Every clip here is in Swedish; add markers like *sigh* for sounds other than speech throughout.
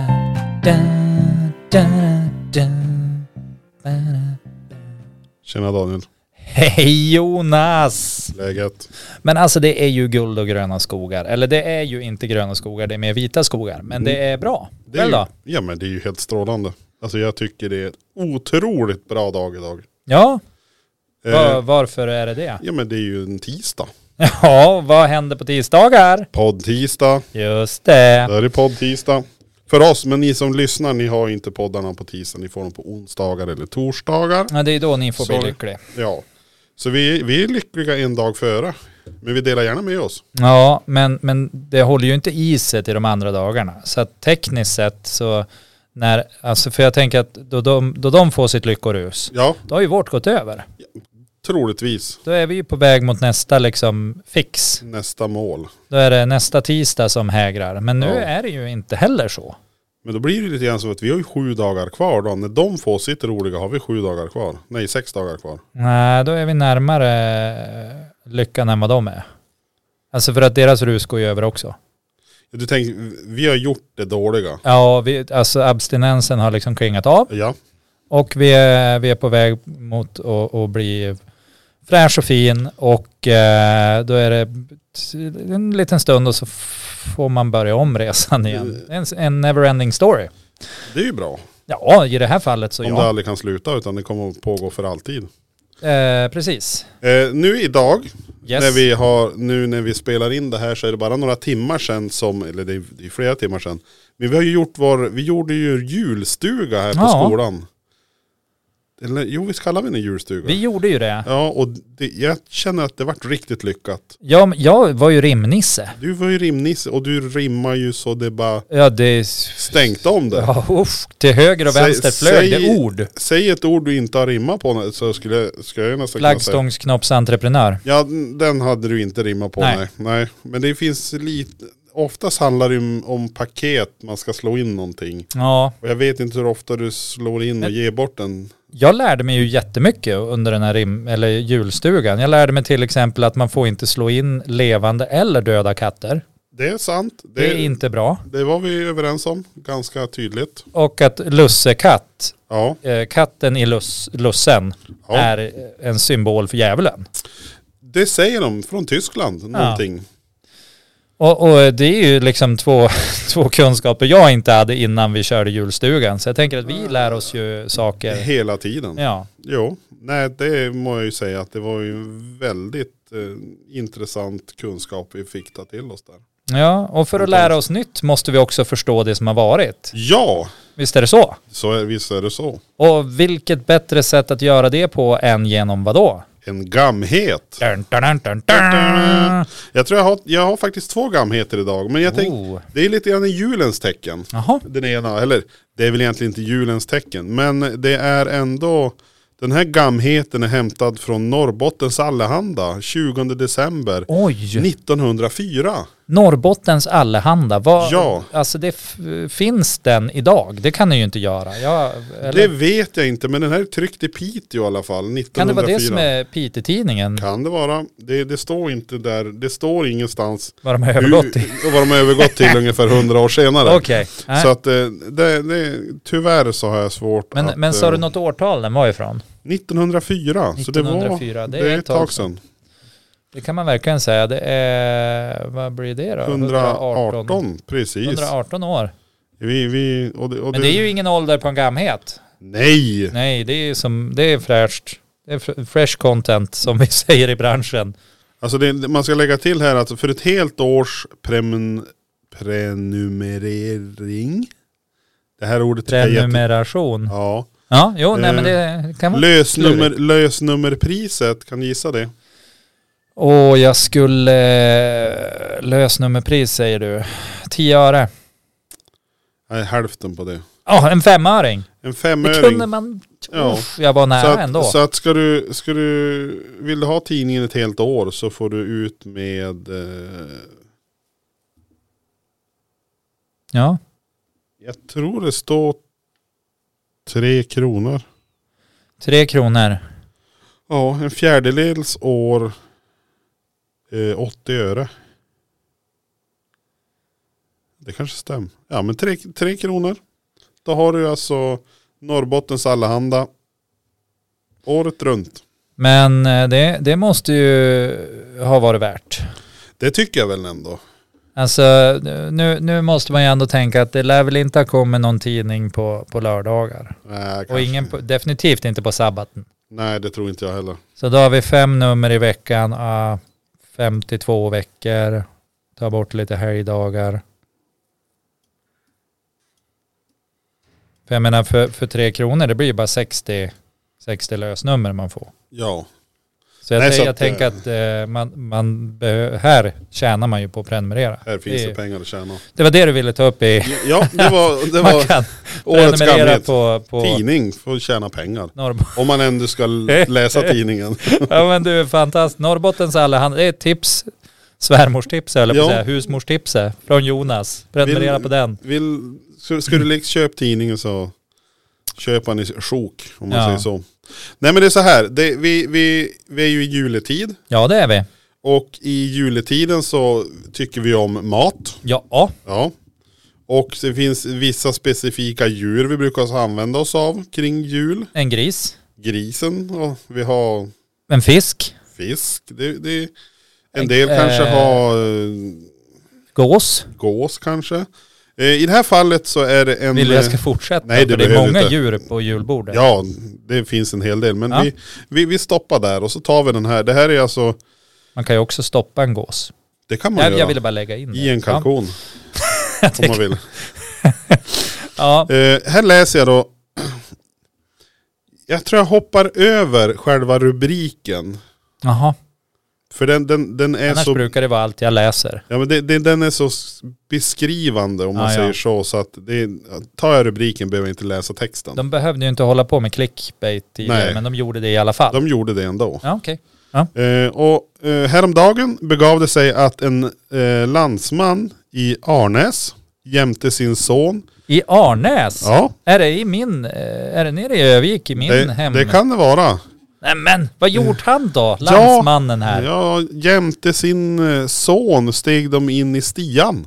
Da, da, da, da, da. Tjena Daniel, Hej Jonas! läget? Men alltså det är ju guld och gröna skogar. Eller det är ju inte gröna skogar, det är mer vita skogar. Men det är bra. Det är Väl då? ju, ja men det är ju helt strålande. Alltså jag tycker det är en otroligt bra dag idag. Ja, va- Eh, varför är det *laughs* det? ja men det är ju en tisdag. Ja, vad händer på tisdagar? Podd-tisdag, Just det. där är det podd-tisdag. För oss, men ni som lyssnar, ni har ju inte poddarna på tisdag, ni får dem på onsdagar eller torsdagar. Ja, det är då ni får Sorry. bli lycklig. Ja. Så vi, vi är lyckliga en dag före. Men vi delar gärna med oss. Ja, men, men det håller ju inte i sig till de andra dagarna. Så att tekniskt sett så, när, alltså för jag tänker att då de, då de får sitt lyckorus, Ja, då har ju vårt gått över. troligtvis Då är vi ju på väg mot nästa liksom fix. nästa mål. Då är det nästa tisdag som hägrar. Men nu Ja. är det ju inte heller så. Men då blir det lite grann som att vi har ju sju dagar kvar då. När de får sitt roliga har vi sju dagar kvar. Nej, sex dagar kvar. Nej, då är vi närmare eh, lyckan än vad de är. Alltså för att deras rus går ju över också. Du tänker, vi har gjort det dåliga. Ja, vi, alltså abstinensen har liksom klingat av. Ja, Och vi är, vi är på väg mot att, att bli fräsch och fin och eh, då är det en liten stund och så f- får man börja om resan Mm. igen. En, en never-ending story. det är ju bra. Ja, i det här fallet så Om det ja. aldrig kan sluta utan det kommer att pågå för alltid. Eh, precis. Eh, nu idag, Yes. när vi har, nu när vi spelar in det här så är det bara några timmar sedan som, eller det är, det är flera timmar sedan. Men vi har ju gjort vår, vi gjorde ju julstuga här på Ja. skolan. Eller jo, visst kallar vi den julstuga? Vi gjorde ju det. Ja, och det, jag känner att det vart riktigt lyckat. Ja, men jag var ju rimnisse. Du var ju rimnisse och du rimmar ju så det bara Ja, det... s- stängt om det. Ja, usch, till höger och Säg- vänster säg- flög det ord. Säg ett ord du inte har rimmat på nu, så skulle, jag- ska jag nästan kunna säga. Flaggstångsknoppsentreprenör. Ja, den hade du inte rimmat på. Nej. Nej. Nej. Men det finns lite, oftast handlar det om, om paket, man ska slå in någonting. Ja, Och jag vet inte hur ofta du slår in och ger bort den. Jag lärde mig ju jättemycket under den här rim, eller julstugan. Jag lärde mig till exempel att man får inte slå in levande eller döda katter. Det är sant. Det, Det, är inte bra. det var vi överens om, ganska tydligt. Och att lussekatt, Ja, eh, katten i luss, lussen, Ja. är en symbol för djävulen. det säger de från Tyskland, någonting. Och, och det är ju liksom två, *laughs* två kunskaper jag inte hade innan vi körde julstugan. Så jag tänker att vi lär oss ju saker. Hela tiden. Ja, Jo, nej det må jag ju säga att det var ju en väldigt eh, intressant kunskap vi fick ta till oss där. ja och för att lära oss nytt måste vi också förstå det som har varit. Ja, Visst är det så? så är, visst är det så. Och vilket bättre sätt att göra det på än genom vadå? En gamhet. Dun, dun, dun, dun, dun. Jag tror jag har, jag har faktiskt två gamheter idag, men jag tänkte, Oh. det är lite grann i julens tecken. Jaha, Den ena, eller det är väl egentligen inte julens tecken, men det är ändå, den här gamheten är hämtad från Norrbottens Allehanda, 20 december oj. 1904. Norrbottens Allehanda, vad, Ja. alltså det f- finns den idag? Det kan den ju inte göra. Jag, eller, Det vet jag inte, men den här är tryckt i Piteå i alla fall, 1904. kan det vara det som är Piteå-tidningen? Kan det vara. Det, det står inte där, det står ingenstans Vad de har övergått till? hur, och vad de har övergått *laughs* till ungefär hundra år senare. Okej. Nej. Så att eh, det, det, tyvärr så har jag svårt att... Men, men sa du eh, något årtal den var ifrån? 1904, så det var 1904, det är ett tag sedan. Det kan man verkligen säga. Det är, vad blir det då? 118, precis. 118 år. Vi, vi, och det, och Men det är ju ingen ålder på en gamhet. Nej! Nej, det är ju som, det är fräscht. Det är fr- fresh content som vi *laughs* säger i branschen. Alltså det, man ska lägga till här att för ett helt års premen, prenumerering, det här ordet tycker jag är jätte- Prenumeration. Ja. Ja, jo, nej Eh, men det kan man. Lösnummer, lösnummerpriset, kan ni gissa det? Och jag skulle, eh, lösnummerpris säger du. 10 öre. Nej, hälften på det. Ja, en femöring. En Det femöring. kunde man, Ja. Uff, jag var nära så att, ändå. Så att ska du, ska du, vill du ha tidningen ett helt år så får du ut med, eh, Ja. jag tror det står tre kronor. Tre kronor. Ja, en fjärdedels år, eh, 80 öre. Det kanske stämmer. Ja men tre, tre kronor. Då har du alltså Norrbottens Allehanda. Året runt. Men eh, det, det måste ju ha varit värt. Det tycker jag väl ändå. Alltså nu, nu måste man ju ändå tänka att det lär väl inte ha kommit någon tidning på, på lördagar. Nej, Och Eh, kanske. ingen, på, definitivt inte på sabbaten. Nej, det tror inte jag heller. Så då har vi fem nummer i veckan, ah, 52 veckor, ta bort lite helgdagar. För jag menar för, för tre kronor, det blir ju bara 60, 60 lösnummer man får. Ja, Så jag, Nej, tän- så jag att, tänker eh, att eh, man, man behö- här tjänar man ju på att prenumerera. här finns Det- det pengar att tjäna. Det var det du ville ta upp i, Ja, det var, *laughs* det man var kan årets prenumerera gamhet. på, på Tidning för att tjäna pengar. Norrbotten. Om man ändå ska läsa tidningen. *laughs* Ja men du är fantastisk. Norrbottens allehanda, det är ett tips. Svärmorstips eller på att Ja. säga, husmorstipset från Jonas. Prenumerera Vill- på den. Vill, ska, ska du liksom köpa tidningen så köper ni sjok om man Ja. säger så. Nej men det är så här, det, vi, vi, vi är ju i juletid Ja det är vi. och i juletiden så tycker vi om mat. Ja, ja. Ja. Och det finns vissa specifika djur vi brukar använda oss av kring jul. en gris, Grisen och vi har en fisk, fisk. Det, det, Eh, en del kanske eh, har eh, gås. gås kanske. Eh, I det här fallet så är det en... Vill du jag ska eh, fortsätta? nej, det För det är behöver många inte. djur på julbordet. Ja, det finns en hel del. Men Ja. vi, vi, vi stoppar där och så tar vi den här. Det här är alltså, Man kan ju också stoppa en gås. det kan man Jag, jag göra. ville bara lägga in det. I en *laughs* kalkon. om man vill. Ja, ja. Eh, här läser jag då. Jag tror jag hoppar över själva rubriken. Jaha. För den, den, den är Annars så... brukar det vara allt jag läser. Ja, men det, det, den är så s- beskrivande om man Ah, ja. säger så. Så att det, tar jag rubriken behöver jag inte läsa texten. De, De behövde ju inte hålla på med clickbait tidigare, Nej. men de gjorde det i alla fall. gjorde det ändå. Ja, okej. Eh, och eh, häromdagen begav det sig att en eh, landsman i Arnäs jämte sin son. I Arnäs? Ja, Är det i min, eh, är det nere i Övik i min det, hem? det kan det vara. Nej men, vad gjort han då? Landsmannen här. Ja. Ja, jämte sin eh, son steg de in i stian.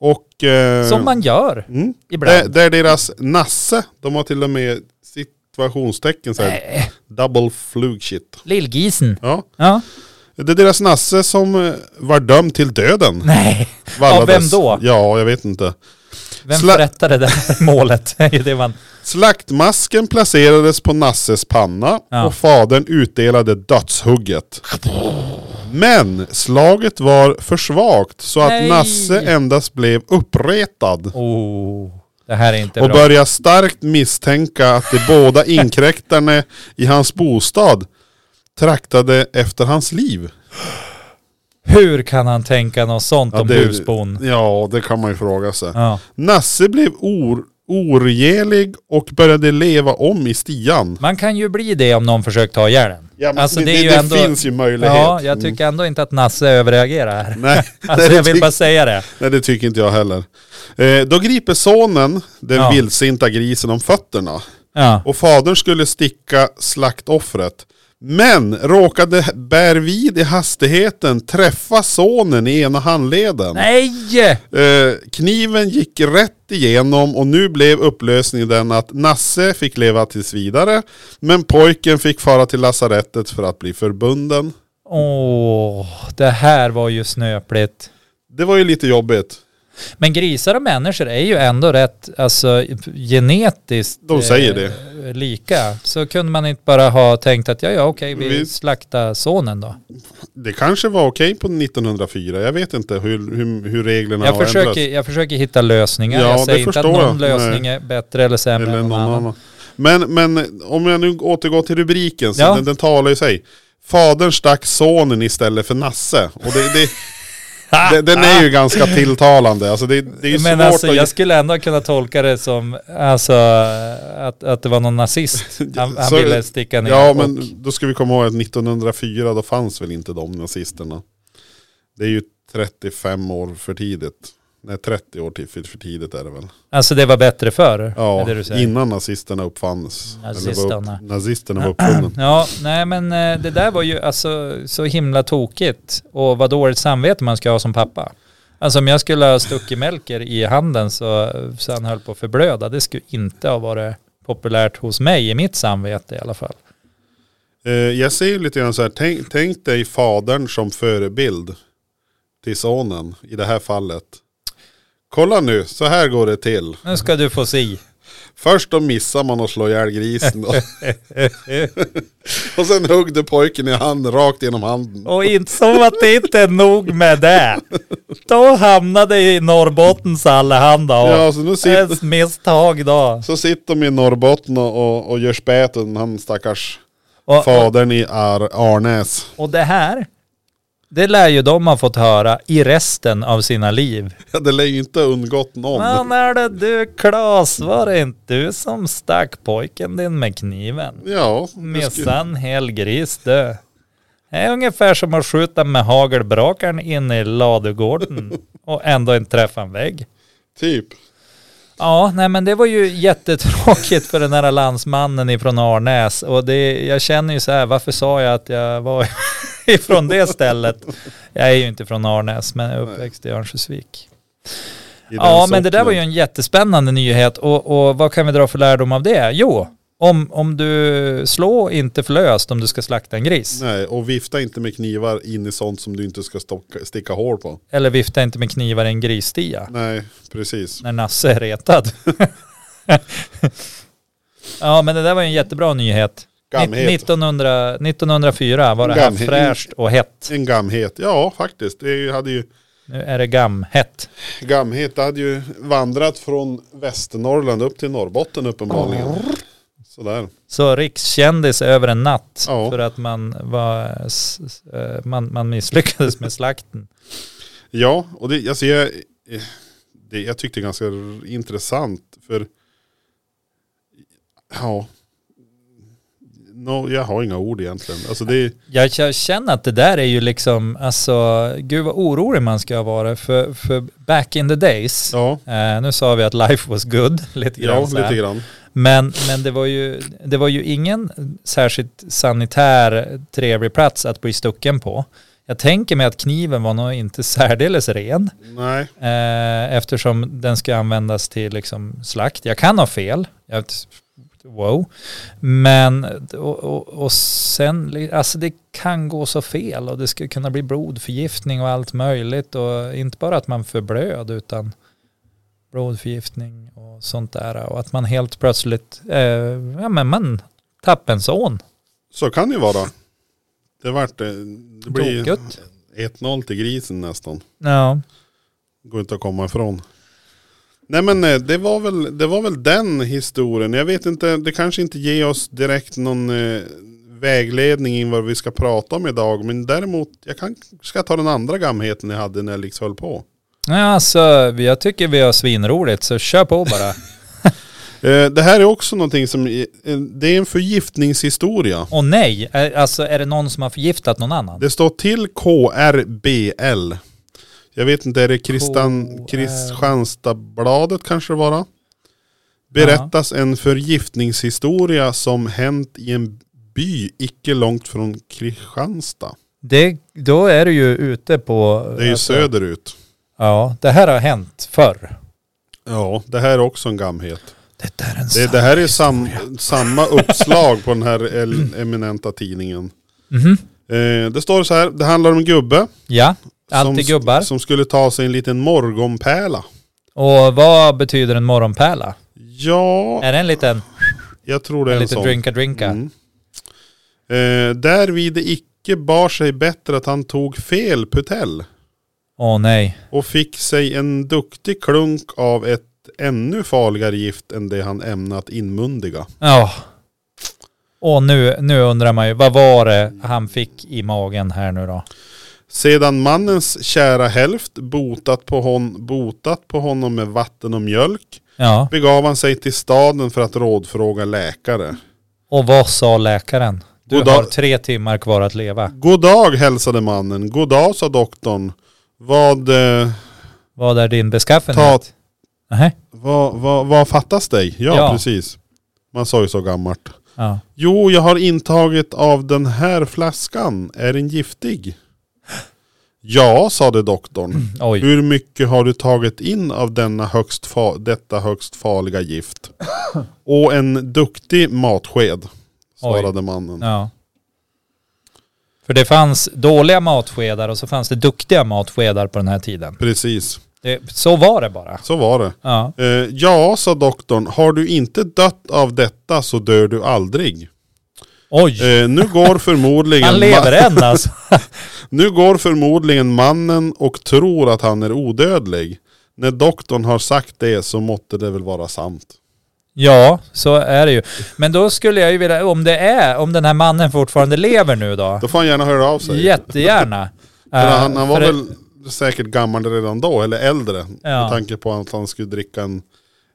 Och... Eh, som man gör mm, det, ibland. det är deras nasse. De har till och med situationstecken så här. Nej, Double flugshit. Lillgisen. Ja. Ja. Det är deras nasse som eh, var dömd till döden. Nej, Vallades. vem då? Ja, jag vet inte. vem Sla- förrättade det här *laughs* målet? Det är ju det man... Slaktmasken placerades på Nasses panna Ja. och fadern utdelade dödshugget. Men slaget var för svagt så att Nej. Nasse endast blev uppretad Oh, det här är inte och bra. började starkt misstänka att de båda inkräktarna i hans bostad traktade efter hans liv. Hur kan han tänka något sånt om det, husbon? Ja, det kan man ju fråga sig. Ja. Nasse blev or, orgelig och började leva om i stian. Man kan ju bli det om någon försöker ta ihjäl en. Ja, men Alltså, det, det är det, ju det ändå- finns ju möjlighet. Mm. Ja, jag tycker ändå inte att Nasse överreagerar här. *laughs* Nej, *laughs* Alltså nej, jag det vill bara tyck- säga det. nej, det tycker inte jag heller. Eh, då griper sonen den Ja. vildsinta grisen om fötterna. Ja. Och fadern skulle sticka slaktoffret. Men råkade Bärvid i hastigheten träffa sonen i ena handleden. Nej! Eh, kniven gick rätt igenom och nu blev upplösningen den att Nasse fick leva tills vidare. Men pojken fick fara till lasarettet för att bli förbunden. Åh, det här var ju snöpligt. Det var ju lite jobbigt. Men grisar och människor är ju ändå rätt, alltså genetiskt De säger det. lika. Så kunde man inte bara ha tänkt att ja, ja, okej, vi Vi- slaktar sonen då. Det kanske var okej på 1904. Jag vet inte hur, hur, hur reglerna Jag har försöker, ändrats. jag försöker hitta lösningar. Ja, jag det säger inte att förstår någon jag. lösning är bättre eller sämre Eller än någon annan. Men, men om jag nu återgår till rubriken, så Ja. den, den talar ju sig. Fadern stack sonen istället för Nasse. Och det, *laughs* det, det, den är ju ganska tilltalande. Alltså det, det är ju Men svårt alltså att... jag skulle ändå kunna tolka det som alltså, att, att det var *laughs* någon nazist. Han, han Så- ville sticka ner. Ja och- men då ska vi komma ihåg att 1904 då fanns väl inte de nazisterna. Det är ju 35 år för tidigt. Nej 30 år till, för för tidigt är det väl. Alltså det var bättre förr? är Ja, det du säger. Mm, innan nazisterna uppfanns. Eller Var Nazisterna. upp, *clears throat* nazisterna var uppfunna. Ja, nej men eh, det där var ju alltså så himla tokigt och vad dåligt samvete man ska ha som pappa. Alltså om jag skulle ha stuckit Melker i handen så, så han höll på att förblöda, det skulle inte ha varit populärt hos mig i mitt samvete i alla fall. Eh, jag ser ju lite grann så här, tänk, tänk dig fadern som förebild till sonen i det här fallet. Kolla nu, så här går det till. Nu ska du få se. Först då missar man och slår ihjäl grisen *laughs* då. och sen högg du pojken i handen, rakt genom handen. Och inte som att det inte är nog med det. Då hamnade i Norrbottens allehanda och Ja, så nu sitter, ett misstag då. så sitter de i Norrbotten och, och, och gör späten, han stackars Och, fadern i Ar, Arnäs. *laughs* och det här, det lär ju de ha fått höra i resten av sina liv. Ja, det lär ju inte ha undgått någon. Men är det du Klas, var det inte du som stack pojken din med kniven? Ja, det skulle- Missa en hel gris du. Det är ungefär som att skjuta med hagelbrakaren inne *laughs* i ladugården och ändå inte träffa en vägg. typ. Ja, nej men det var ju jättetråkigt för den här landsmannen ifrån Arnäs och det, jag känner ju så här, varför sa jag att jag var *laughs* ifrån det stället? Jag är ju inte från Arnäs men jag är uppväxt i Örnsköldsvik. i den Ja, men det där sorten. var ju en jättespännande nyhet och, och vad kan vi dra för lärdom av det? Jo, om, om du slår inte förlöst om du ska slakta en gris. Nej, och vifta inte med knivar in i sånt som du inte ska stocka, sticka hål på. Eller vifta inte med knivar i en grisstia Nej, precis. när Nasse är retad. *laughs* ja, men det där var ju en jättebra nyhet. Gamhet. 1900, 1904 var det här Gamhet. fräscht och hett. En gamhet, ja faktiskt. Det är ju- hade ju, Nu är det gamhett. gamhet det hade ju vandrat från Västernorrland upp till Norrbotten uppenbarligen. Sådär. Så rikskändis över en natt Ja. för att man, var, s- s- eh, man, man misslyckades med slakten. Ja, och det, alltså jag, eh, det, jag tyckte det är ganska r- intressant för ja, no, jag har inga ord egentligen. Alltså det, Jag, jag känner att det där är ju liksom, alltså gud vad orolig man ska vara för, för back in the days. ja, Eh, nu sa vi att life was good, lite grann ja så här. lite grann. Men, men det, var ju, det var ju ingen särskilt sanitär trevlig plats att bli stucken på. Jag tänker mig att kniven var nog inte *laughs* särdeles ren Nej, eh, eftersom den ska användas till liksom slakt. Jag kan ha fel. Jag, wow. Men och, och, och sen, li- alltså det kan gå så fel och det skulle kunna bli blodförgiftning och allt möjligt och inte bara att man förblöd utan blodförgiftning och sånt där och att man helt plötsligt, eh, ja men man tappar en son. så kan det ju vara. Det vart eh, det blir Tokigt. 1-0 till grisen nästan. Ja. Går inte att komma ifrån. Nej men eh, det var, väl, det var väl den historien. Jag vet inte, det kanske inte ger oss direkt någon eh, vägledning i vad vi ska prata om idag. Men däremot, jag kan, ska jag ta den andra gamheten jag hade när jag liksom höll på. ja, alltså vi- jag tycker vi har svinroligt så kör på bara. Eh, det här är också någonting som, eh, eh, det är en förgiftningshistoria. Och nej, är- alltså är det någon som har förgiftat någon annan? Det står till KRBL. Jag vet inte, är det Kristan, KR. Kristianstadsbladet kanske det var? Berättas en förgiftningshistoria som hänt i en by icke långt från Kristianstad. Det, då är du ju ute på... alltså, Det är ju söderut. Ja, det här har hänt förr. Ja, det här är också en gamhet. Det där är en Det, det här är sam, samma Mm. uppslag på den här el- eminenta tidningen. Mhm. Eh, det står så här, det handlar om en gubbe. Ja, som, alltid gubbar. Som skulle ta sig en liten morgonpärla. Och vad betyder en morgonpärla? Ja, Är det en liten, Jag tror det är en en, liten sån. drinka drinka? Mm. Eh, därvid det icke bar sig bättre att han tog fel putell Åh nej. och fick sig en duktig klunk av ett ännu farligare gift än det han ämnat inmundiga. Ja. Och nu, nu undrar man ju, vad var det han fick i magen här nu då? Sedan mannens kära hälft botat på, hon, botat på honom med vatten och mjölk Ja, begav han sig till staden för att rådfråga läkare. och vad sa läkaren? Du God dag. har tre timmar kvar att leva. God dag hälsade mannen. God dag sa doktorn. Vad, eh, Vad är din ta, beskaffenhet? Nej. Vad, vad, vad fattas dig? Ja, Ja. precis. Man sa ju så gammalt. Ja. Jo, jag har intagit av den här flaskan. Är den giftig? Ja, sade doktorn. Oj. Hur mycket har du tagit in av denna högst fa- detta högst farliga gift? Och en duktig matsked, svarade mannen. Ja. För det fanns dåliga matskedar och så fanns det duktiga matskedar på den här tiden. Precis, Det, så var det bara. så var det. Ja. Eh, ja, sa doktorn, har du inte dött av detta så dör du aldrig. Oj, Eh, nu, *laughs* går förmodligen han ma- lever *laughs* än alltså. nu går förmodligen mannen och tror att han är odödlig. När doktorn har sagt det så måtte det väl vara sant. Ja, så är det ju. Men då skulle jag ju vilja, om det är, om den här mannen fortfarande lever nu då. Då får han gärna höra av sig. Jättegärna. *laughs* För Eh, han, han var för det- väl säkert gammal redan då, eller äldre. Ja. Med tanke på att han skulle dricka en,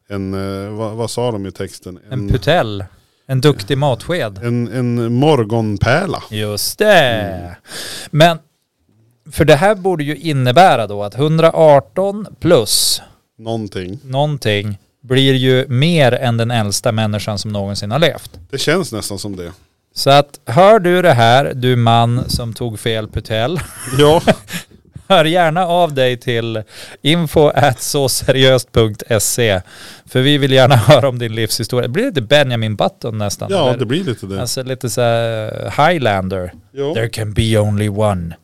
en eh, vad, vad sa de i texten? En putell. En duktig matsked. en, en morgonpärla. Just det. Mm. Men, för det här borde ju innebära då att 118 plus Någonting. någonting blir ju mer än den äldsta människan som någonsin har levt. Det känns nästan som det. Så att hör du det här, du man som tog fel putell, Ja, *laughs* hör gärna av dig till info såseriöst.se för vi vill gärna *laughs* höra om din livshistoria. Det blir lite Benjamin Button nästan. ja eller? det blir lite det. Alltså lite så här Highlander. Jo, There can be only one.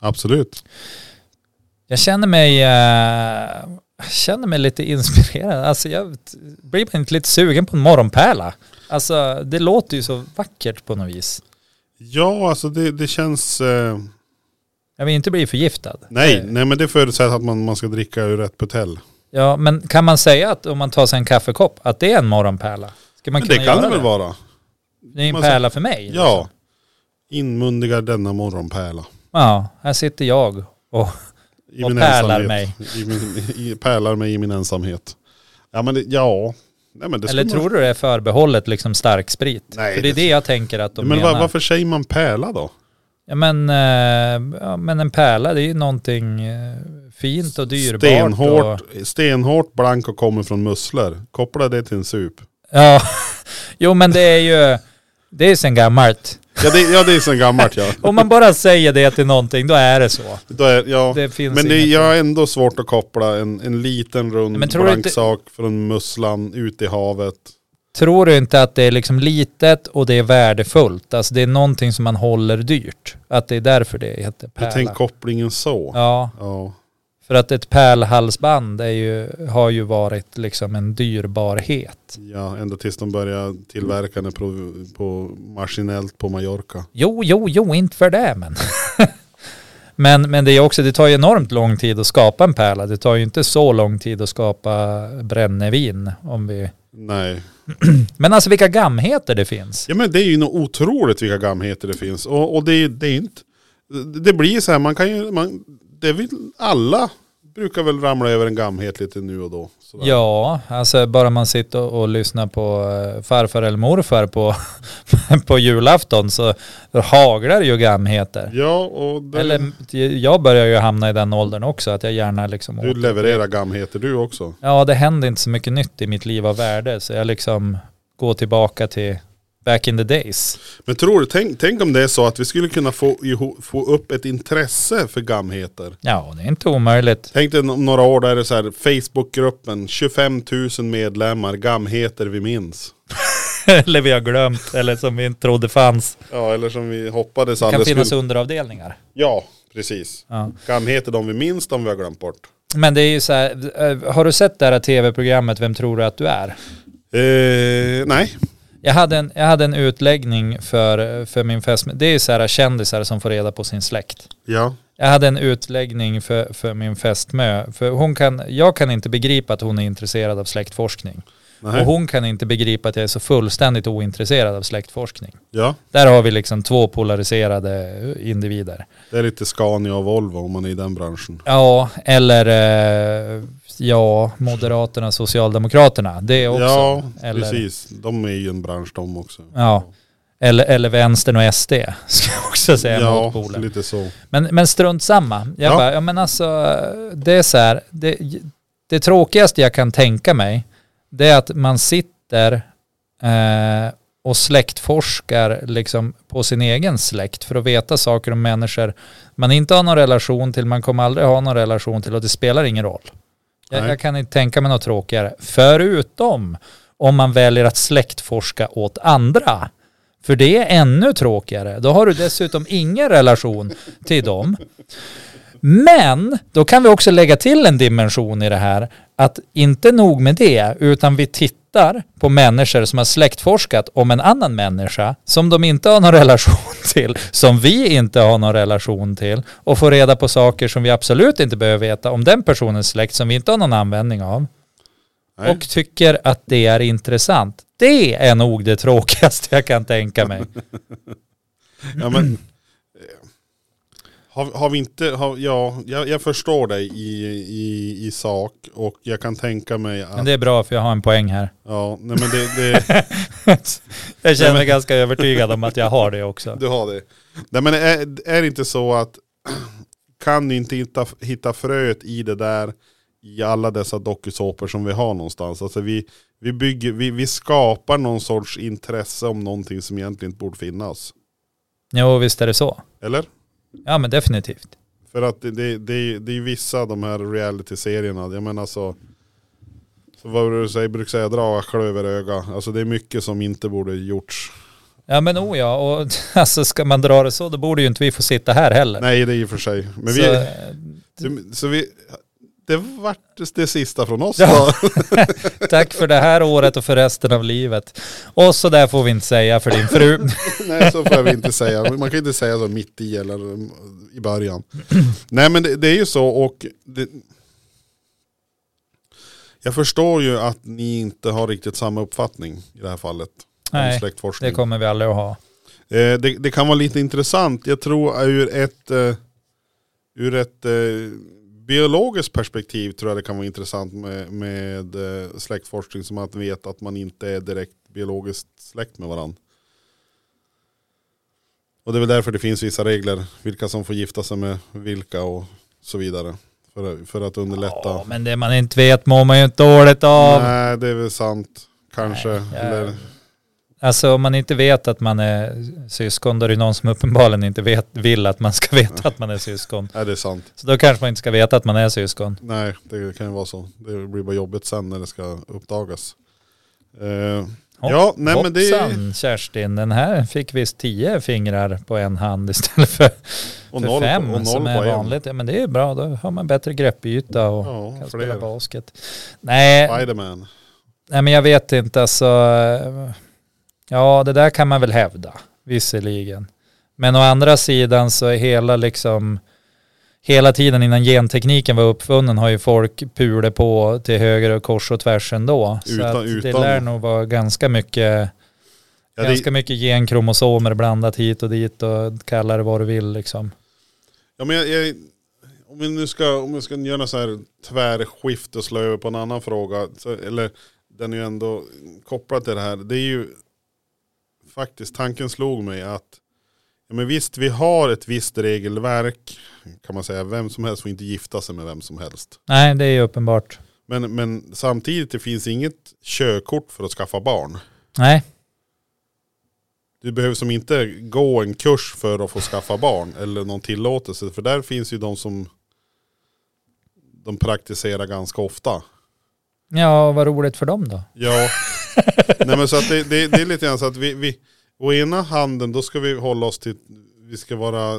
absolut. Jag känner mig, eh, jag känner mig lite inspirerad. Alltså jag t- blir man inte lite sugen på en morgonpärla. Alltså det låter ju så vackert på något vis. Ja, alltså det, det känns... Eh, Jag vill inte bli förgiftad. nej, Eh, nej, men det förutsätter att man, man ska dricka ur rätt butelj. Ja, men kan man säga att om man tar sig en kaffekopp att det är en morgonpärla? Ska man Men kunna det kan göra det väl vara? Det är en Man pärla för mig. liksom. Ja. Inmundigar denna morgonpärla. Ja, här sitter jag och I Och pärlar ensamhet. mig. I min, i, pärlar mig i min ensamhet. Ja men det, ja. Nej, men det Eller skulle man- tror du det är förbehållet liksom stark sprit? Nej, För det är det- det jag tänker att de Men menar. var, varför säger man pärla då? Ja, men, eh, ja, men en pärla det är ju någonting eh, fint och dyrbart. Stenhårt, Och, stenhårt blank och kommer från musslor. Koppla det till en sup. ja, *laughs* jo men det är ju, det är sen gammalt. Ja det, ja, det är så gammalt *laughs* ja. Om man bara säger det till någonting då är det så. Då är, ja. Det finns men det, inget- jag har ändå svårt att koppla en, en liten rund Men tror du blank inte- sak från musslan ut i havet. Tror du inte att det är liksom litet och det är värdefullt? Alltså det är någonting som man håller dyrt. Att det är därför det heter Du pärla. tänker kopplingen så. Ja, Ja. för att ett pärlhalsband är ju, har ju varit liksom en dyrbarhet. ja, ända tills de började tillverka den på, på maskinellt på Mallorca. Jo, jo, jo, inte för det men. *laughs* men, men det är också, det tar ju enormt lång tid att skapa en pärla. Det tar ju inte så lång tid att skapa brännevin om vi... Nej. Men alltså vilka gamheter det finns. Ja men det är ju något otroligt vilka gamheter det finns. Och, och det, är- det är inte... Det blir så här, man kan ju... Man, det vill, alla brukar väl ramla över en gamhet lite nu och då. Sådär. Ja, alltså bara man sitter och, och lyssnar på eh, farfar eller morfar på, *laughs* på julafton så haglar det ju gamheter. Ja och det, Eller jag börjar ju hamna i den åldern också att jag gärna liksom... du levererar gamheter du också. Ja, det händer inte så mycket nytt i mitt liv av värde så jag liksom går tillbaka till back in the days. Men tror du, tänk, tänk om det är så att vi skulle kunna få, iho- få upp ett intresse för gamheter. Ja, det är inte omöjligt. *laughs* Tänk dig om några år där det är så här, Facebookgruppen, 25 000 medlemmar, gamheter vi minns. eller vi har glömt, eller som vi inte trodde fanns. Ja eller som vi hoppades Det kan alldeles finnas skulle- underavdelningar. Ja, precis. Ja. Gamheter de vi minns, de vi har glömt bort. Men det är ju så här, eh, har du sett det här tv-programmet Vem tror du att du är? Eh, nej. Jag hade en, jag hade en utläggning för, för min fästmö. Det är ju så här kändisar som får reda på sin släkt. Ja. Jag hade en utläggning för, för min fästmö. För hon kan, jag kan inte begripa att hon är intresserad av släktforskning. Nej. Och hon kan inte begripa att jag är så fullständigt ointresserad av släktforskning. Ja. Där har vi liksom två polariserade individer. Det är lite Scania och Volvo om man är i den branschen. Ja, eller eh, ja, Moderaterna, Socialdemokraterna. Det också. Ja, eller, precis. De är ju en bransch de också. Ja. Eller, eller vänstern och SD, *laughs* ska jag också säga, ja motpolen. lite så. Men, men strunt samma. Jag Ja. bara, ja men alltså, det är så här, det, det tråkigaste jag kan tänka mig, det är att man sitter eh, och släktforskar liksom på sin egen släkt för att veta saker om människor man inte har någon relation till, man kommer aldrig ha någon relation till och det spelar ingen roll. Jag, Nej. jag kan inte tänka mig något tråkigare. Förutom om man väljer att släktforska åt andra. För det är ännu tråkigare. Då har du dessutom ingen relation till dem. Men då kan vi också lägga till en dimension i det här. Att inte nog med det, utan vi tittar på människor som har släktforskat om en annan människa som de inte har någon *laughs* relation till, som vi inte har någon relation till och får reda på saker som vi absolut inte behöver veta om den personens släkt som vi inte har någon användning av Nej. och tycker att det är intressant. Det är nog det tråkigaste jag kan tänka mig. Ja, men, eh, har, har vi inte, har, ja, jag, jag förstår dig i, i, i sak och jag kan tänka mig Men att, det är bra för jag har en poäng här. ja, nej men det, det, Jag känner Nej, mig ganska övertygad om att jag har det också. du har det. Nej men är, är det inte så att, *clears throat* kan du inte hitta, hitta fröet i det där, i alla dessa dokusåpor som vi har någonstans? Alltså vi, vi, bygger, vi, vi skapar någon sorts intresse om någonting som egentligen inte borde finnas. Jo, visst är det så. Eller? Ja, men definitivt. För att det, det, det, det är ju vissa av de här reality-serierna, jag menar så, så vad var det du säger, brukar säga draga klöveröga, alltså det är mycket som inte borde gjorts. Ja men oh ja, och *laughs* alltså ska man dra det så då borde ju inte vi få sitta här heller. Nej det är i och för sig, men Så, vi, eh, du- så vi, det vart det sista från oss Ja. då. tack för det här året och för resten av livet. Och så där får vi inte säga för *laughs* din fru. *laughs* Nej så får vi inte säga, man kan ju inte säga så mitt i eller um, i början. Nej men det, det är ju så och det, jag förstår ju att ni inte har riktigt samma uppfattning i det här fallet. om Nej, släktforskning. det kommer vi aldrig att ha. Eh, det, det kan vara lite intressant. Jag tror ur ett, eh, ur ett eh, biologiskt perspektiv tror jag det kan vara intressant med, med eh, släktforskning som att veta att man inte är direkt biologiskt släkt med varandra. Och det är väl därför det finns vissa regler, vilka som får gifta sig med vilka och så vidare. För, för att underlätta. Ja, men det man inte vet mår man ju inte dåligt av. Nej, det är väl sant. Kanske. Nej, jag- Eller, Alltså om man inte vet att man är syskon då är det någon som uppenbarligen inte vet, vill att man ska *laughs* veta att man är syskon. är det är sant? Så då kanske man inte ska veta att man är syskon. Nej, det kan ju vara så. Det blir bara jobbigt sen när det ska uppdagas. Eh, Hopp- ja, nej men det är... Hoppsan Kerstin, den här fick visst tio fingrar på en hand istället för Och för noll, fem på- och noll som på är en. vanligt. Ja, men det är ju bra, då har man bättre greppyta och Ja, kan spela fler. basket. Nej, Spiderman. nej, men jag vet inte alltså. eh, Ja, det där kan man väl hävda, visserligen. Men å andra sidan så är hela liksom, hela tiden innan gentekniken var uppfunnen har ju folk pulat på till höger och kors och tvärs ändå. så Utan- att det utan- lär nog vara ganska mycket Ja, det, Ganska mycket genkromosomer blandat hit och dit och kalla det vad du vill liksom. ja, men jag, jag, om vi nu ska, om vi ska göra så här tvärskift och slå över på en annan fråga, så, eller den är ju ändå kopplad till det här. Det är ju faktiskt, tanken slog mig att ja, men visst, vi har ett visst regelverk, kan man säga, vem som helst får inte gifta sig med vem som helst. Nej, det är ju uppenbart. Men, men samtidigt, det finns inget körkort för att skaffa barn. Nej, Du behöver som inte gå en kurs för att få skaffa barn eller någon tillåtelse. För där finns ju de som de praktiserar ganska ofta. ja vad roligt för dem då. Ja, nej men så att det, det, det är lite grann så att vi, vi, å ena handen då ska vi hålla oss till, vi ska vara,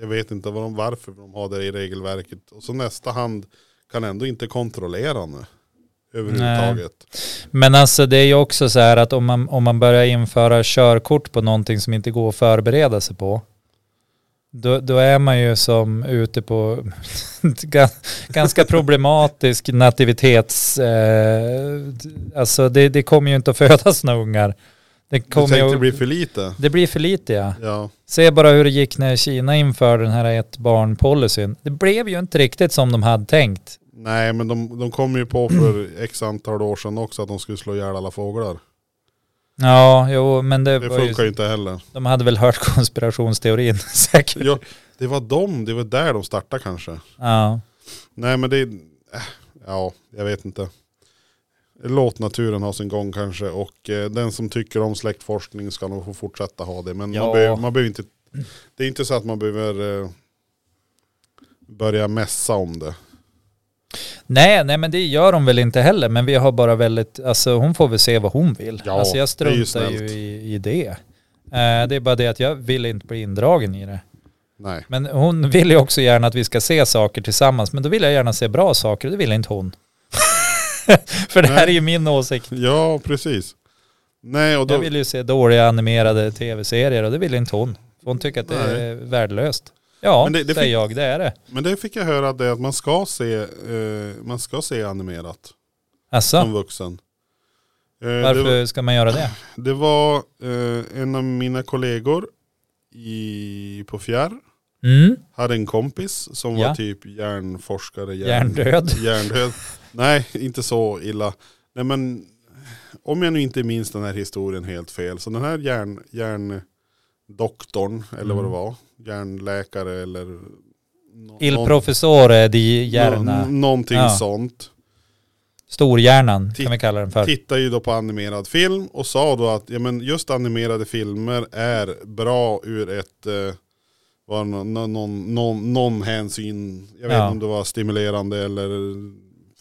jag vet inte vad de, varför de har det i regelverket. Och så nästa hand kan ändå inte kontrollera nu. Överhuvudtaget. Men alltså det är ju också så här att om man, om man börjar införa körkort på någonting som inte går att förbereda sig på, då, då är man ju som ute på *laughs* ga- *laughs* ganska problematisk nativitets... Eh, alltså det, det kommer ju inte att födas några ungar. Det, Du kommer tänkte det ju, blir för lite. det blir för lite ja. Ja. Se bara hur det gick när Kina införde den här ett barn-policyn. Det blev ju inte riktigt som de hade tänkt. Nej men de, de kom ju på *clears throat* för x antal år sedan också att de skulle slå ihjäl alla fåglar. Ja, jo, men det, Det var ju, funkar ju inte heller. de hade väl hört *laughs* konspirationsteorin *laughs* säkert. Ja, det var de, det var där de startade kanske. Ja. Nej men det, äh, ja jag vet inte. Låt naturen ha sin gång kanske och eh, den som tycker om släktforskning ska nog få fortsätta ha det. Men Ja. man, behöver, man behöver inte, det är inte så att man behöver eh, börja mässa om det. Nej, nej men det gör hon väl inte heller. Men vi har bara väldigt, alltså hon får väl se vad hon vill. Ja, alltså jag det är ju struntar ju snällt. i, i det. Eh, det är bara det att jag vill inte bli indragen i det. Nej. Men hon vill ju också gärna att vi ska se saker tillsammans. Men då vill jag gärna se bra saker och det vill inte hon. *laughs* För det här Nej. är ju min åsikt. Ja, precis. Nej, och Jag då, vill ju se dåliga animerade tv-serier och det vill inte hon. Hon tycker att det är värdelöst. Ja, Men det- det säger fick- jag, det är det. men det fick jag höra det att man ska se, eh, man ska se animerat som Alltså, vuxen. Eh, det var- varför ska man göra det? Det var eh, en av mina kollegor i, på Fjärr. Mm, Hade en kompis som Ja. var typ hjärnforskare. hjärndöd. hjärndöd. Nej, inte så illa. Nej men, om jag nu inte minns den här historien helt fel. Så den här hjärn, hjärndoktorn, eller vad det Mm. var, var, hjärnläkare eller nå- Il någon- professore di nå- Järna. Någonting Ja. sånt. Storhjärnan Titt- kan vi kalla den för. tittar ju då på animerad film och sa då att ja, men just animerade filmer är bra ur ett eh, var någon, någon, någon, någon hänsyn. Jag vet Ja. inte om det var stimulerande eller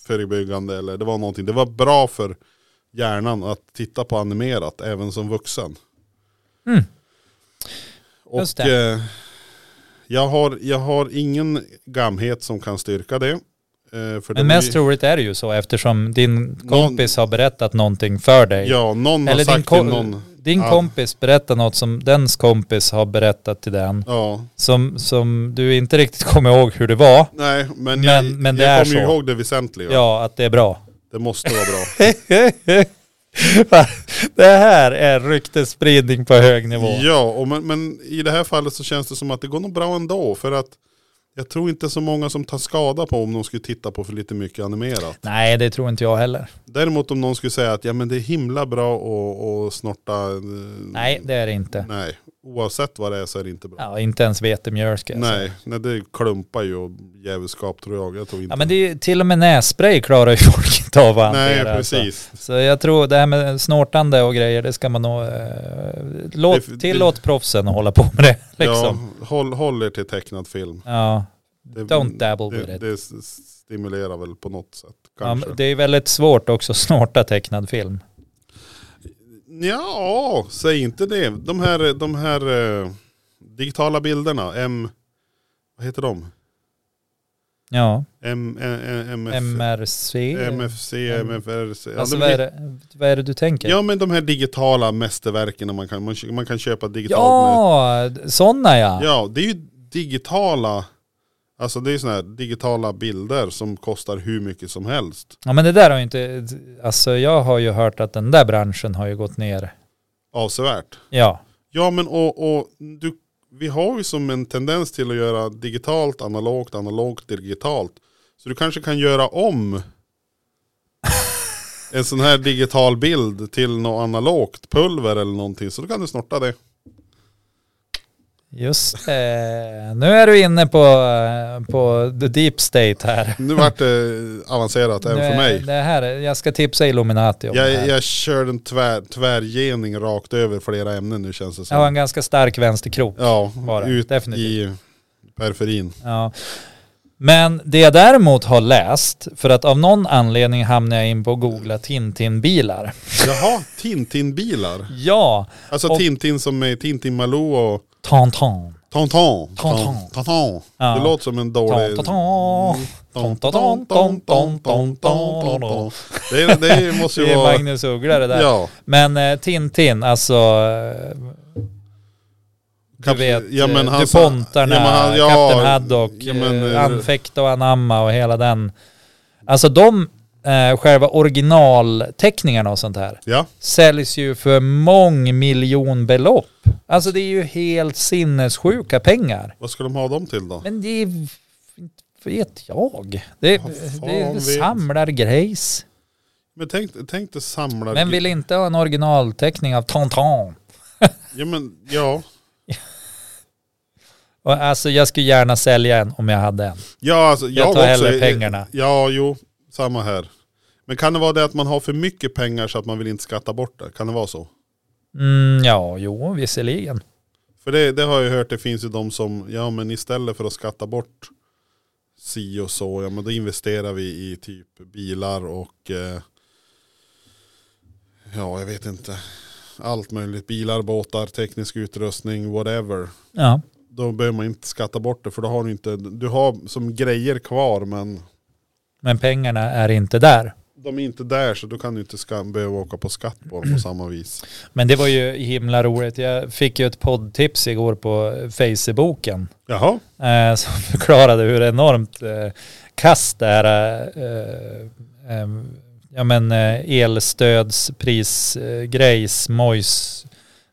förebyggande eller det var någonting. Det var bra för hjärnan att titta på animerat även som vuxen. Mm. Just Och eh, jag, har, jag har ingen gamhet som kan styrka det. Eh, för Men de är mest ju- troligt är det ju så eftersom din Någon- kompis har berättat någonting för dig. Ja, någon har Eller din, sagt till kom, någon. din Ja. kompis berättar något som dens kompis har berättat till den. Ja, Som, som du inte riktigt kommer ihåg hur det var. Nej, men, Men- jag, men det är jag kommer ju så. ihåg det väsentliga. Ja, att det är bra. Det måste vara *laughs* bra. det här är ryktesspridning på hög nivå. ja, och men, men i det här fallet så känns det som att det går nog bra ändå. För att jag tror inte så många som tar skada på om de skulle titta på för lite mycket animerat. Nej, det tror inte jag Mm. heller. Däremot om någon skulle säga att ja, men det är himla bra att att snorta. eh, Nej, det är det inte. Nej, oavsett vad det är så är det inte bra. Ja, inte ens vetemjölk. alltså. nej, nej, det klumpar ju och djävulskap tror jag. jag tror inte. Ja, men det är, ju- till och med nässpray klarar ju folk inte av att nej, hantera. alltså. precis. Så jag tror det här med snortande och grejer, det ska man nog... Eh, låt, Det- tillåt proffsen att hålla på med det. Liksom. Ja, håll, håll er till tecknad film. Ja. Det, Don't dabble with det, it. det s- stimulerar väl på något sätt. Ja, Kanske. men det är väldigt svårt också att snorta tecknad film. Ja, säg inte det. De här, de här eh, digitala bilderna, M... Vad heter de? Ja, M, Ä- Ä- MF, MRC. MFC, M- MFRC. Ja, Alltså de vad är, hit- det, vad är det du tänker? ja, men de här digitala mästerverken man kan, man, kö- man kan köpa digitalt. ja sådana ja. med- ja, det är ju digitala... Alltså det är sådana här digitala bilder som kostar hur mycket som helst. Ja men det där har ju inte, alltså jag har ju hört att den där branschen har ju gått ner. Avsevärt. Ja, Ja men och, och du, vi har ju som en tendens till att göra digitalt, analogt, analogt, digitalt. Så du kanske kan göra *laughs* om en sån här digital bild till något analogt, pulver eller någonting. Så då kan du snorta det. *laughs* just det. Nu är du inne på, eh, på the deep state här. Nu vart det avancerat Nu även för är- mig. Det här, är- jag ska tipsa Illuminati om det Jag, här. jag kör en tvär, tvärgening rakt över flera ämnen nu känns det Jag har en som. ganska stark vänsterkrok. Ja, Var det, ut definitivt. i periferin. Ja. Men det jag däremot har läst, för att av någon anledning hamnar jag in på att googla Tintin-bilar. Jaha, Tintin-bilar. Ja, Alltså Och- Tintin som är Tintin Malou och Tantan. Tonton. Tonton. Tonton. Ja. Det Mm. låter som en dålig... Tantan. Tonton, tonton, tonton, tonton. Det, är- det måste *laughs* Det ju är vara... Magnus Uggla det där. Ja. Men eh, Tintin, alltså... eh, Du Kap- vet, ja, men eh, han sa- DuPontarna, ja, men han- ja, Kapten Haddock, ja, men, eh, eh, Anfäkta och Anamma och hela den. Alltså de eh, själva originalteckningarna och sånt här Ja. säljs ju för mångmiljonbelopp. Alltså det är ju helt sinnessjuka pengar. Vad ska de ha dem till då? Men det är, inte vet jag. Det, Vad fan det, det vet. samlar grejs. Men tänk, tänk dig samlar... Vem vill inte ha en originalteckning av Tantan? Ja men ja. Och Alltså jag skulle gärna sälja en om jag hade en. Ja alltså Jag jag, också... tar hellre pengarna. Ja jo. Samma här. Men kan det vara det att man har för mycket pengar så att man vill inte skatta bort det? Kan det vara så? Mm, ja, jo, visserligen. För det, det har jag hört, det finns ju de som, ja men istället för att skatta bort si och så, ja men då investerar vi i typ bilar och eh, ja jag vet inte, allt möjligt, bilar, båtar, teknisk utrustning, whatever. Ja, Då behöver man inte skatta bort det för då har du inte, du har som grejer kvar men men pengarna är inte där. de är inte där så då kan du inte ska, behöva åka på skatt på dem på samma vis. Men det var ju himla roligt. Jag fick ju ett poddtips igår på Facebooken Jaha, eh, *laughs* som förklarade hur enormt eh, kast det här eh, eh, ja, men, eh, elstödspris, eh, grejs, mojs,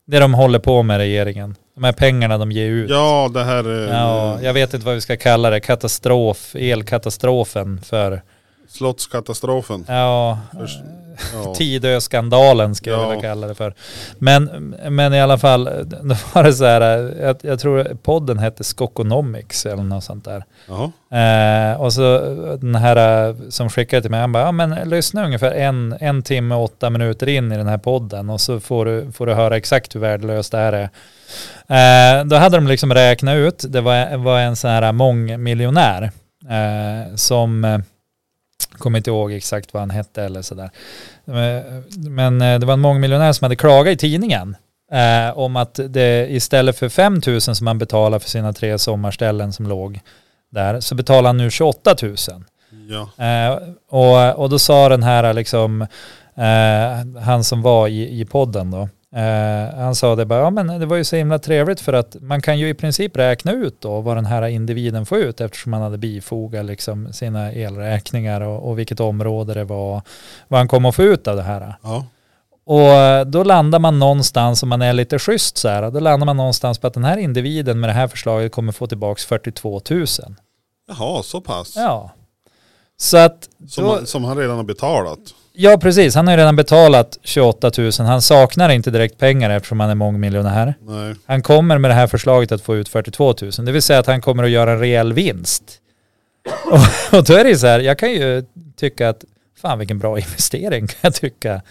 det de håller på med regeringen. De här pengarna de ger ut. ja det här eh, Ja, jag vet inte vad vi ska kalla det, katastrof, elkatastrofen för, *laughs* slottskatastrofen. ja, Först- eh, Ja. Tidöskandalen ska jag Ja. vilja kalla det för. Men, men i alla fall, *laughs* då var det så här, jag, jag tror podden hette Skokonomics eller något sånt där. Jaha. Eh, och så den här eh, som skickade till mig, han bara, ja men lyssna ungefär en, en timme och åtta minuter in i den här podden och så får du, får du höra exakt hur värdelöst det här är. Eh, då hade de liksom räknat ut, det var, var en sån här mångmiljonär eh, som eh, kommer inte ihåg exakt vad han hette eller sådär. Eh, Men eh, det var en mångmiljonär som hade klagat i tidningen eh, om att det istället för 5 000 som han betalar för sina tre sommarställen som låg där så betalar han nu 28 000. Ja. Eh, och, och då sa den här liksom, eh, han som var i, i podden då, eh, han sa det bara, ja men det var ju så himla trevligt för att man kan ju i princip räkna ut då vad den här individen får ut eftersom han hade bifogat liksom sina elräkningar och, och vilket område det var, vad han kommer att få ut av det här. Ja. Och eh, då landar man någonstans, om man är lite schysst så här, då landar man någonstans på att den här individen med det här förslaget kommer få tillbaka 42 000. Jaha, så pass. Ja. Så att, Som, då, han, som han redan har betalat. ja precis, han har ju redan betalat 28 000. Han saknar inte direkt pengar eftersom han är mångmiljonär. Nej. Han kommer med det här förslaget att få ut 42 000, det vill säga att han kommer att göra en rejäl vinst. *laughs* Och, och då är det ju så här, jag kan ju tycka att fan vilken bra investering *laughs* kan jag tycka.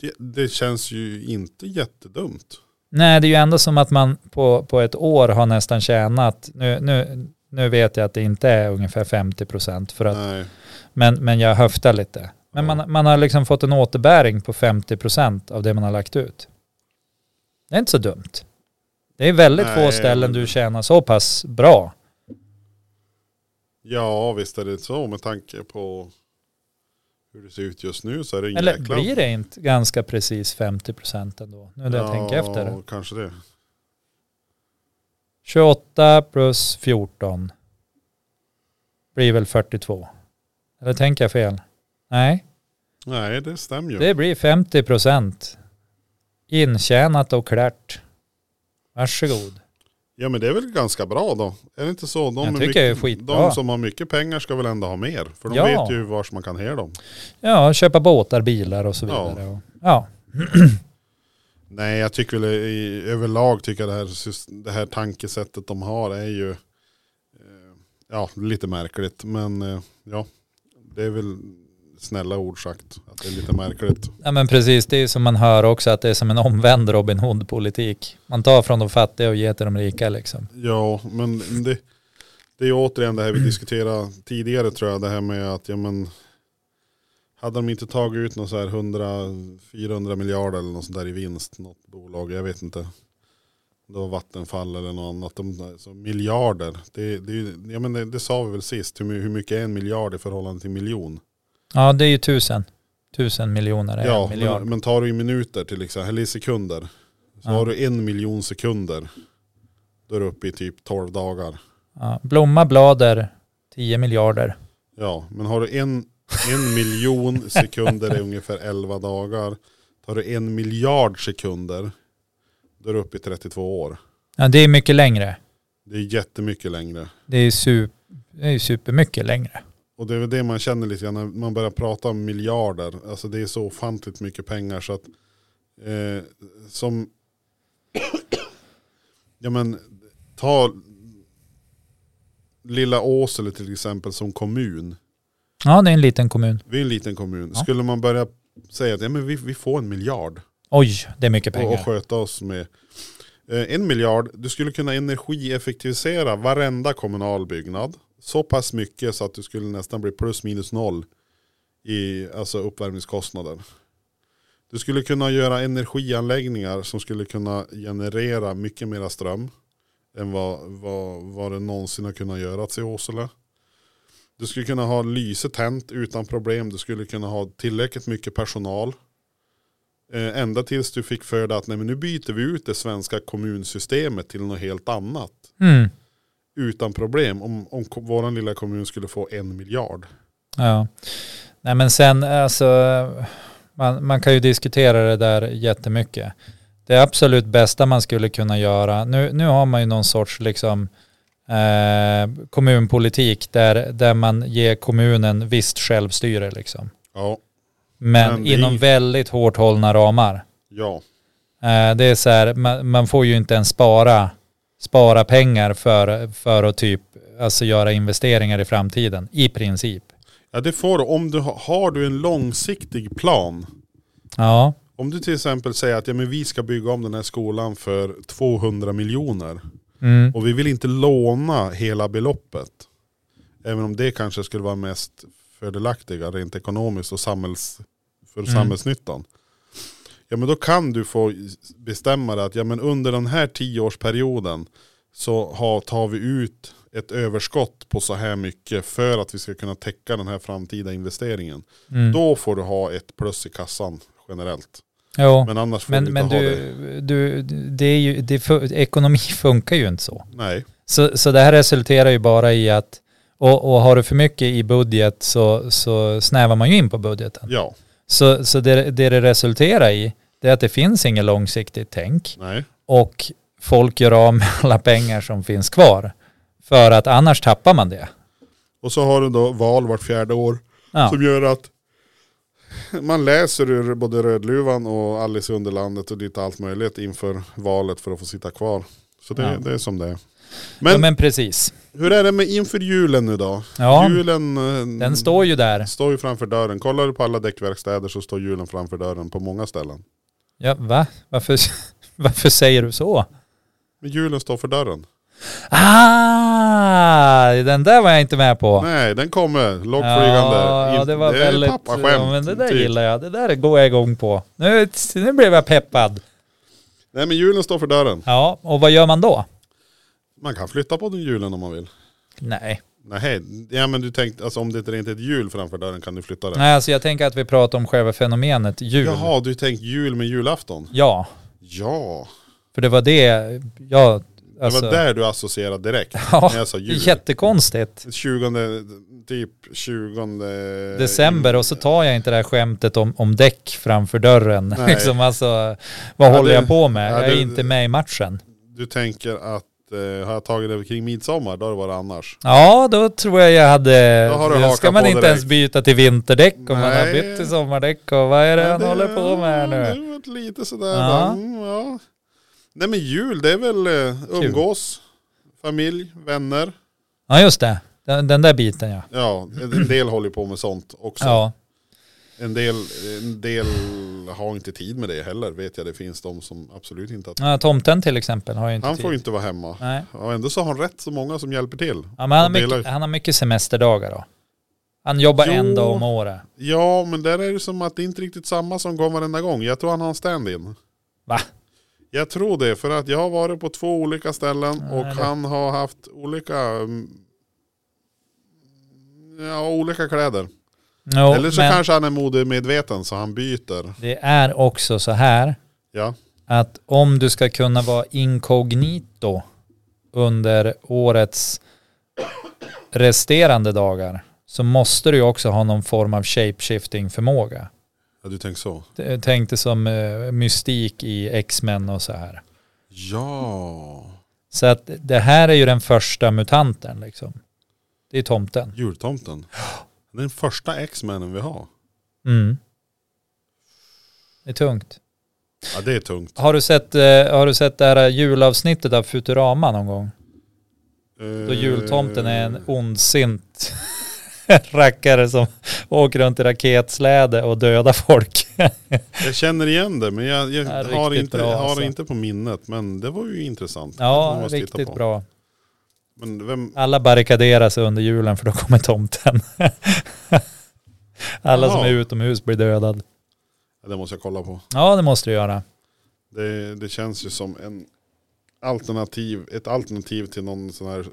Det, det känns ju inte jättedumt. Nej, det är ju ändå som att man på, på ett år har nästan tjänat, nu, nu, nu vet jag att det inte är ungefär 50 procent, för att Nej. Men, men jag höftar lite. Men Ja. man, man har liksom fått en återbäring på 50% av det man har lagt ut. Det är inte så dumt. Det är väldigt Nej, få ställen men- du tjänar så pass bra. Ja, visst är det så med tanke på hur det ser ut just nu så är det en Eller jäkla... blir det inte ganska precis 50% ändå? Nu när jag tänker efter. Ja, kanske det. 28 plus 14 blir väl 42. Eller tänker jag fel? Nej, Nej, det stämmer ju. det blir 50%. Intjänat och klart. Varsågod. Ja, men det är väl ganska bra då. Är det inte så? De, Jag med tycker det är mycket, skitbra. de som har mycket pengar ska väl ändå ha mer. För de Ja. vet ju vars man kan ge dem. Ja, köpa båtar, bilar och så Ja. vidare. Ja. ja. Nej, jag tycker väl i, överlag tycker jag det här, sys- det här tankesättet de har är ju eh, ja, lite märkligt. Men eh, ja, det är väl snälla ord sagt att det är lite märkligt. ja, men precis. Det är ju som man hör också att det är som en omvänd Robin Hood-politik. Man tar från de fattiga och ger till de rika liksom. Ja, men det, det är ju återigen *clears throat* det här vi diskuterade tidigare tror jag. Det här med att ja, men, hade de inte tagit ut någon så här 100-400 miljarder eller något sånt där i vinst, något bolag, jag vet inte. Om Det var Vattenfall eller något annat. De, så miljarder, det, det, är ju- ja, men det, det sa vi väl sist, hur, my- hur mycket är en miljard i förhållande till miljon? Ja, det är ju tusen. Tusen miljoner är Ja, en miljard. men, men tar du i minuter till exempel, eller i sekunder, så Ja. har du en miljon sekunder, då är du uppe i typ 12 dagar. Ja, blomma, blader, 10 miljarder. Ja, men har du en, en miljon sekunder i ungefär 11 dagar. Tar du en miljard sekunder, då är du uppe i 32 år. Ja, det är mycket längre. Det är jättemycket längre. Det är, su- det är ju supermycket längre. Och det är väl det man känner lite grann när man börjar prata om miljarder. Alltså det är så ofantligt mycket pengar så att eh, som ja men ta lilla Åsele till exempel som kommun. Ja, det är en liten kommun. Vi är en liten kommun. Ja. Skulle man börja säga att ja, men vi, vi får en miljard Oj, det är mycket och, och pengar. sköta oss med eh, en miljard, du skulle kunna energieffektivisera varenda kommunal byggnad så pass mycket så att du skulle nästan bli plus minus noll i alltså uppvärmningskostnaden. Du skulle kunna göra energianläggningar som skulle kunna generera mycket mera ström än vad, vad, vad det någonsin har kunnat göras i Åsele. Du skulle kunna ha lyse tänt utan problem. Du skulle kunna ha tillräckligt mycket personal. Eh, ända tills du fick för dig att nej, men nu byter vi ut det svenska kommunsystemet till något helt annat. Mm. Utan problem om, om ko- våran lilla kommun skulle få en miljard. Ja. Nej men sen alltså, man, man kan ju diskutera det där jättemycket. Det absolut bästa man skulle kunna göra, nu, nu har man ju någon sorts liksom eh, kommunpolitik där, där man ger kommunen visst självstyre liksom. Ja, Men, Men det är inom ju- väldigt hårt hållna ramar. ja. Eh, det är så här, man, man får ju inte ens spara, spara pengar för, för att typ, alltså göra investeringar i framtiden, i princip. ja det får du om du har, har du en långsiktig plan. Ja, Om du till exempel säger att ja, men vi ska bygga om den här skolan för 200 miljoner. mm. Och vi vill inte låna hela beloppet. Även om det kanske skulle vara mest fördelaktiga rent ekonomiskt och samhälls, för Mm. samhällsnyttan. Ja men då kan du få bestämma dig att ja, men under den här tioårsperioden så har, tar vi ut ett överskott på så här mycket för att vi ska kunna täcka den här framtida investeringen. Mm. Då får du ha ett plus i kassan generellt. jo. Men annars får Men, du men inte ha det. du, du, det är ju, det, fu- ekonomi *laughs* funkar ju inte så. Nej, Så, så det här resulterar ju bara i att, och, och har du för mycket i budget så, så snävar man ju in på budgeten. ja, Så, så det, det det resulterar i, det är att det finns inget långsiktigt tänk nej, och folk gör av med *laughs* alla pengar som finns kvar. För att annars tappar man det. och så har du då val vart fjärde år. Ja, Som gör att man läser ur både Rödluvan och Alice i Underlandet och lite allt möjligt inför valet för att få sitta kvar. Så det, Ja. det är som det är. Men, men, men precis. hur är det med inför julen nu då? Ja, julen eh, den står ju där. står ju framför dörren. Kollar du på alla däckverkstäder så står julen framför dörren på många ställen. Ja, va? Varför, *laughs* varför säger du så? Men julen står för dörren. Ah, den där var jag inte med på. Nej, den kommer. Lågflygande. Ja, ja, In- det var är väldigt... pappaskämt, ja, men det där typ. gillar jag. Det där går jag igång på. Nu, nu blev jag peppad. Nej men julen står för dörren. Ja, och vad gör man då? Man kan flytta på den julen om man vill. Nej. Nej, ja men du tänkte, alltså om det inte är ett hjul framför dörren kan du flytta det. Nej, alltså jag tänker att vi pratar om själva fenomenet jul. Jaha, du tänkte jul med julafton? Ja, Ja, för det var det jag... det Alltså, var där du associerade direkt. *laughs* Ja, när jag sa jul. jättekonstigt. 20, typ 20 Eh, December och så tar jag inte det här skämtet om, om däck framför dörren. Nej. *laughs* liksom, alltså, vad Ja, håller det- jag på med? ja, jag är det- inte med i matchen. Du tänker att eh, har jag tagit det kring midsommar, då har det varit annars. Ja, då tror jag jag hade... Då har du då hakat ska man på inte direkt. ens byta till vinterdäck om man har Nej. bytt till sommardäck och vad är det Men han håller på med här Det nu? har varit lite sådär. Ja. bara, Mm, ja. Nej men jul, det är väl eh, umgås, familj, vänner. Ja, just det. Den, den där biten ja. Ja, en del håller ju på med sånt också. Ja, En, del, en del har inte tid med det heller, vet jag. Det finns de som absolut inte har ja tomten till exempel har ju inte Han tid. får ju inte vara hemma. Nej. Ja, ändå så har han rätt så många som hjälper till. Ja, men han, har Och delar mycket, han har mycket semesterdagar då. Han jobbar Jo. en dag om året. Ja, men där är det som att det inte riktigt samma som går varenda gång. Jag tror han har en stand-in. Va? Jag tror det, för att jag har varit på två olika ställen och Nej, det- han har haft olika... mm, Ja, olika kläder. Jo, Eller så men kanske han är modemedveten så han byter. det är också så här Ja, att om du ska kunna vara inkognito under årets resterande dagar så måste du ju också ha någon form av shapeshifting förmåga. ja du tänker så. Tänk dig som eh, mystik i X-Men och så här. Ja, Så att det här är ju den första mutanten liksom. Det är tomten. jultomten. Det är Den första X-menen vi har. Mm. Det är tungt. Ja, det är tungt. Har du sett, eh, har du sett det här julavsnittet av Eh. Futurama någon gång? Då jultomten är en ondsint *laughs* rackare som åker runt i raketsläde och dödar folk. Jag känner igen det men jag, jag Ja, riktigt har, inte, bra, har alltså. det inte på minnet. Men det var ju intressant. Det Ja, måste jag titta riktigt på. bra. Men vem, Alla barrikaderas under julen för då kommer tomten. *laughs* Alla som Jaha. är utomhus blir dödad. det måste jag kolla på. Ja, det måste du göra. Det, det känns ju som en alternativ, ett alternativ till någon sån här eh,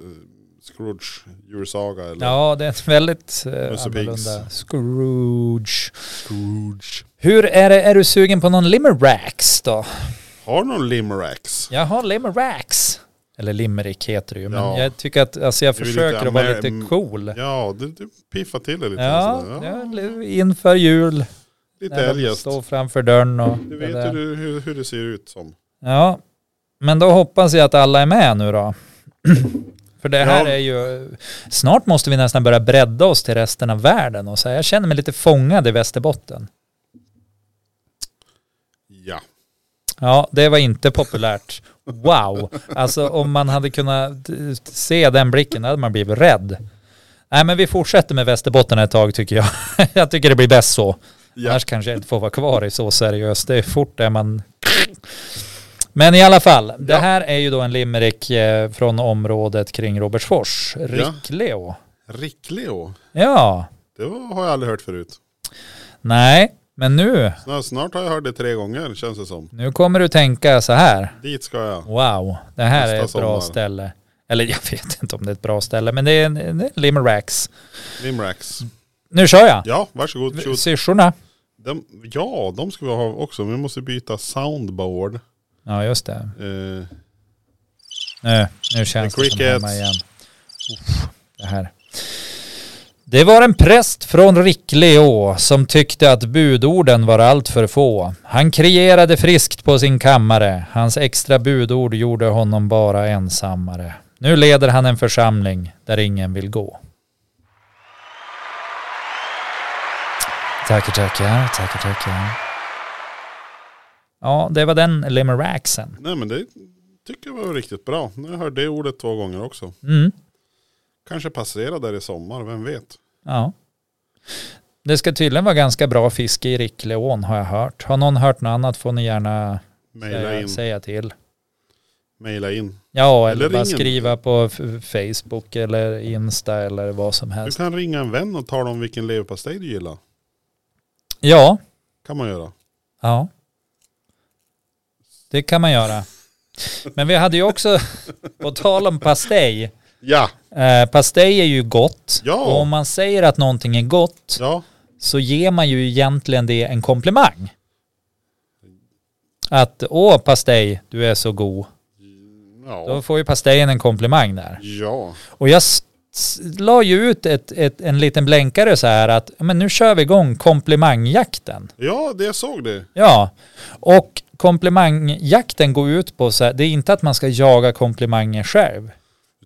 Scrooge djursaga eller Ja, det är ett väldigt eh, Musse Piggs. annorlunda. Scrooge. Scrooge. Hur är det, är du sugen på någon limeracks då? Har du någon limeracks? Jag har limeracks. Eller limerick heter det ju, men Ja. jag tycker att, alltså jag Det är väl försöker lite att vara amer- lite cool. Ja, du, du piffar till det lite. Ja, sådär. ja, li- inför jul. Lite när de eljest. Står framför dörren och Du det vet där. hur, du- hur, hur det ser ut som. Ja, men då hoppas jag att alla är med nu då. *clears throat* För det här Ja. är ju, snart måste vi nästan börja bredda oss till resten av världen och säga, jag känner mig lite fångad i Västerbotten. Ja. Ja, det var inte populärt. Wow! Alltså om man hade kunnat eh, se den blicken hade man blivit rädd. Nej men vi fortsätter med Västerbotten ett tag tycker jag. *laughs* Jag tycker det blir bäst så. ja. Annars kanske jag inte får vara kvar i så seriöst. Det är fort där man... Men i alla fall, det Ja. här är ju då en limerick eh, från området kring Robertsfors. Rickleo. Rickleo. Ja. Det var, har jag aldrig hört förut. Nej, men nu, Snart, snart har jag hört det tre gånger känns det som. nu kommer du tänka så här. Dit ska jag. Wow, det här Nästa är ett bra sommar. ställe. Eller jag vet *laughs* inte om det är ett bra ställe, men det är en, en en Limeracks. Limeracks. Nu kör jag! Ja, varsågod. shoot. Syrsorna. De, ja, de ska vi ha också. Vi måste byta soundboard. Ja, just det. Eh, Nu, nu känns The det som hemma crickets. igen. Uff, det här. Det var en präst från Rickleå som tyckte att budorden var allt för få. Han krierade friskt på sin kammare. Hans extra budord gjorde honom bara ensammare. Nu leder han en församling där ingen vill gå. Tackar, tackar, tackar, tackar. Ja, det var den limeraxen. nej men det tycker jag var riktigt bra. Nu har jag hört det ordet två gånger också. Mm. Kanske passera där i sommar, vem vet. Ja. Det ska tydligen vara ganska bra fiske i Rickleån har jag hört. Har någon hört något annat får ni gärna Maila säga, in. säga till. Maila in. Ja, eller, Eller bara ring en. skriva på f- Facebook eller Insta eller vad som Du helst. kan ringa en vän och tala om vilken leverpastej du gillar. Ja, Kan man göra. ja. Det kan man göra. Men vi hade *laughs* ju också, på tal om pastej, Ja, eh, pastej är ju gott. Ja. Och om man säger att någonting är gott ja. så ger man ju egentligen det en komplimang. Att åh pastej, du är så god. Då Ja. får ju pastejen en komplimang där. Ja. Och jag s- s- la ju ut ett, ett, en liten blänkare så här att "Ja, men nu kör vi igång komplimangjakten. Ja, det jag såg det. Ja, och komplimangjakten går ut på så här, det är inte att man ska jaga komplimanger själv.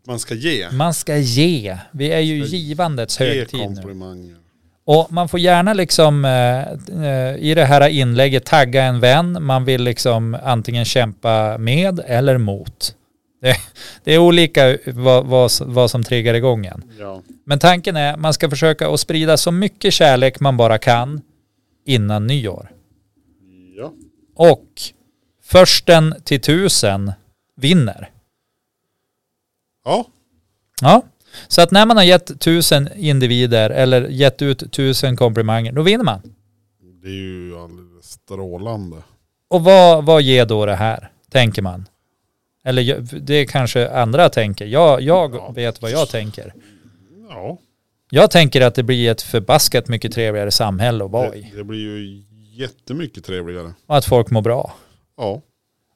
Man ska ge. Man ska ge. Vi är ju Ska ge givandets Ge högtid nu. komplimanger. Och man får gärna liksom eh, eh, i det här inlägget tagga en vän. Man vill liksom antingen kämpa med eller mot. Det, det är olika vad, vad, som- vad som triggar igång en. Ja. Men tanken är man ska försöka att sprida så mycket kärlek man bara kan innan nyår. Ja. Och försten till tusen vinner. Ja. Ja. Så att när man har gett tusen individer eller gett ut tusen komplimanger, då vinner man. Det är ju alldeles strålande. Och vad, vad ger då det här, tänker man? Eller ju- det är kanske andra tänker. Jag, jag Ja. vet vad jag tänker. Ja. Jag tänker att det blir ett förbaskat mycket trevligare samhälle att vara Det, i. det blir ju jättemycket trevligare. Och att folk mår bra. Ja.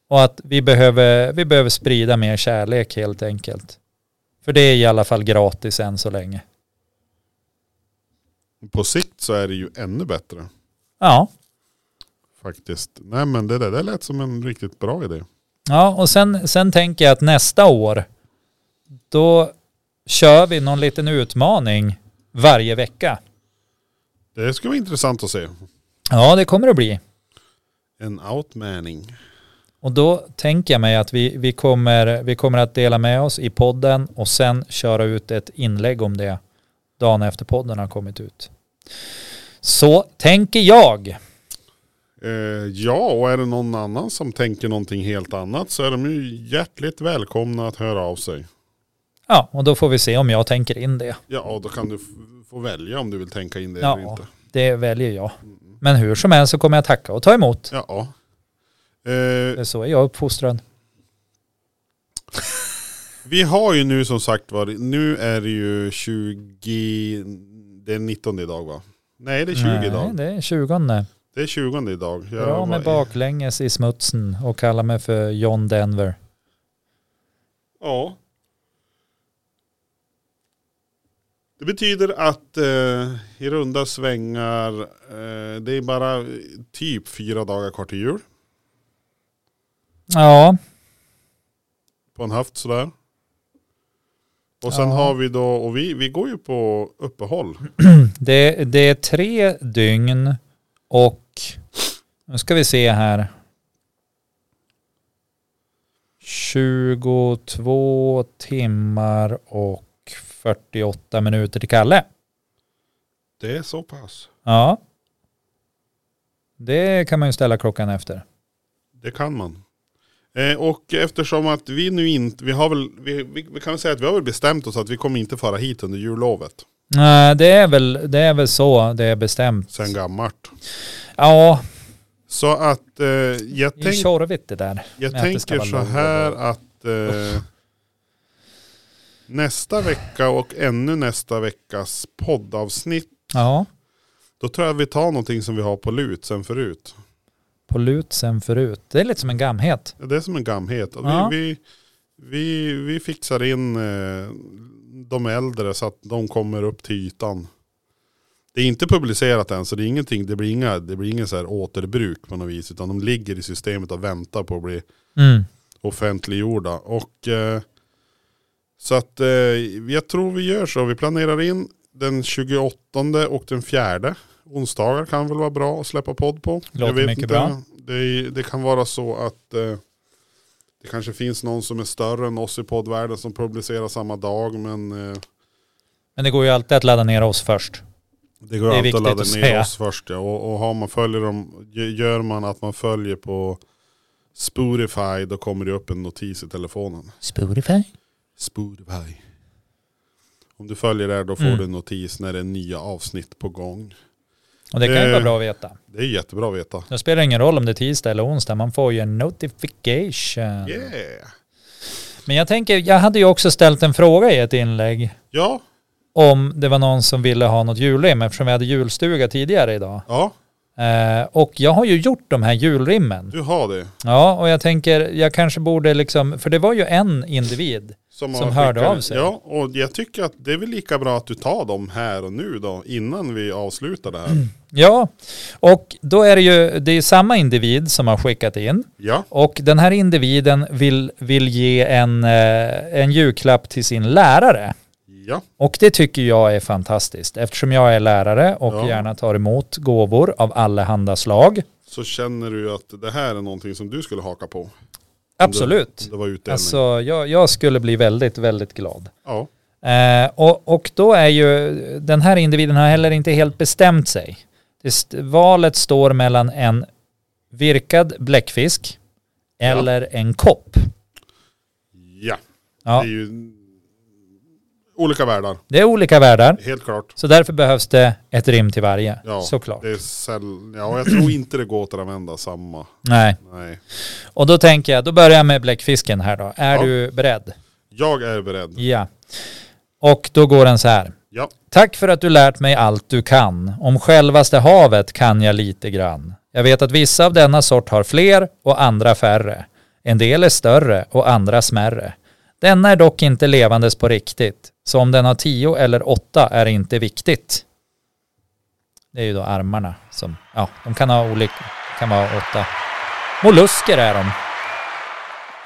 Och att vi behöver, vi behöver sprida mer kärlek helt enkelt. För det är i alla fall gratis än så länge. På sikt så är det ju ännu bättre. Ja, Faktiskt. Nej men det där det lät som en riktigt bra idé. ja och sen, sen tänker jag att nästa år, då kör vi någon liten utmaning varje vecka. Det skulle vara intressant att se. Ja, det kommer det bli. En outmanning. Och då tänker jag mig att vi, vi, kommer, vi kommer att dela med oss i podden och sen köra ut ett inlägg om det dagen efter podden har kommit ut. Så tänker jag. Eh, ja, och är det någon annan som tänker någonting helt annat så är de ju hjärtligt välkomna att höra av sig. Ja, och då får vi se om jag tänker in det. Ja, och då kan du f- få välja om du vill tänka in det Ja. eller inte. Det väljer jag. Men hur som helst så kommer jag tacka och ta emot. Ja. Eh, Så är jag uppfostrad. vi har ju nu som sagt var, nu är det ju 20, det är 19 idag va? Nej det är 20 Nej, idag. det är 20. Det är 20 idag. Jag Dra mig var- baklänges i smutsen och kalla mig för John Denver. Ja. Det betyder att eh, i runda svängar, eh, det är bara eh, typ fyra dagar kvar till jul. Ja, På en höft sådär. Och sen Ja. har vi då, och vi, vi går ju på uppehåll. det, det är tre dygn och nu ska vi se här. 22 timmar och 48 minuter till Kalle. Det är så pass. Ja. Det kan man ju ställa klockan efter. Det kan man. Eh, och eftersom att vi nu inte, vi har väl, vi, vi, vi kan väl säga att vi har väl bestämt oss att vi kommer inte fara hit under jullovet. Nej, det är väl, det är väl så det är bestämt. Sen gammalt. Ja, Så att eh, jag det är tänker... tjorvigt det där. Jag Men att det ska tänker vara så lång här och- att eh, nästa vecka och ännu nästa veckas poddavsnitt, Ja, då tror jag vi tar någonting som vi har på lut sen förut. på lut sen förut. Det är lite som en gamhet. Det är som en gamhet. Och Ja. Vi, vi, vi, vi fixar in eh, de äldre så att de kommer upp till ytan. Det är inte publicerat än så det, är ingenting, det blir inga, det blir ingen så här återbruk på något vis utan de ligger i systemet och väntar på att bli Mm. offentliggjorda. Och, eh, så att eh, jag tror vi gör så. Vi planerar in den 28 och den 4. Onsdagar kan väl vara bra att släppa podd på. Låter jag vet mycket inte. bra. Det, är- det kan vara så att eh, det kanske finns någon som är större än oss i poddvärlden som publicerar samma dag. Men eh, Men det går ju alltid att ladda ner oss först. det går Det är alltid att viktigt ladda att ner säga. oss först. Ja. Och, och har man följer dem, gör man att man följer på Spotify då kommer det upp en notis i telefonen. Spotify? Spotify. Om du följer där då får Mm. du en notis när det är nya avsnitt på gång. Och det kan ju Eh. vara bra att veta. Det är jättebra att veta. Det spelar ingen roll om det är tisdag eller onsdag, man får ju en notification. Yeah. Men jag tänker, jag hade ju också ställt en fråga i ett inlägg Ja, om det var någon som ville ha något julrim eftersom vi hade julstuga tidigare idag. ja, Eh, och jag har ju gjort de här julrimmen. du har det. Ja, och jag tänker, jag kanske borde liksom, för det var ju en individ. har Som hörde skickat- av sig. Ja, och jag tycker att det är väl lika bra att du tar dem här och nu då, innan vi avslutar det här. Mm. Ja, och då är det ju, det är samma individ som har skickat in. Ja, Och den här individen vill, vill ge en, eh, en julklapp till sin lärare. ja, Och det tycker jag är fantastiskt eftersom jag är lärare och Ja. gärna tar emot gåvor av allehanda slag. så känner du att det här är någonting som du skulle haka på. Om det- Absolut. om Det var utdelning. Alltså jag, jag skulle bli väldigt, väldigt glad. Ja, Eh, och, och då är ju, den här individen har heller inte helt bestämt sig. Det st- valet står mellan en virkad bläckfisk eller en kopp. ja. Ja, det är ju olika världar, det är olika världar, helt klart. så därför behövs det ett rim till varje, Ja, såklart. Det är säll... Ja, jag tror inte det går att använda samma. Nej. Nej. Och då tänker jag, då börjar jag med bläckfisken här då. Är Ja. du beredd? Jag är beredd. Ja. Och då går den så här. Ja. Tack för att du lärt mig allt du kan. Om självaste havet kan jag lite grann. Jag vet att vissa av denna sort har fler och andra färre. En del är större och andra smärre. Denna är dock inte levandes på riktigt. Så om den har tio eller åtta är inte viktigt. Det är ju då armarna som, ja, de kan ha olika, kan vara åtta. Mollusker är de.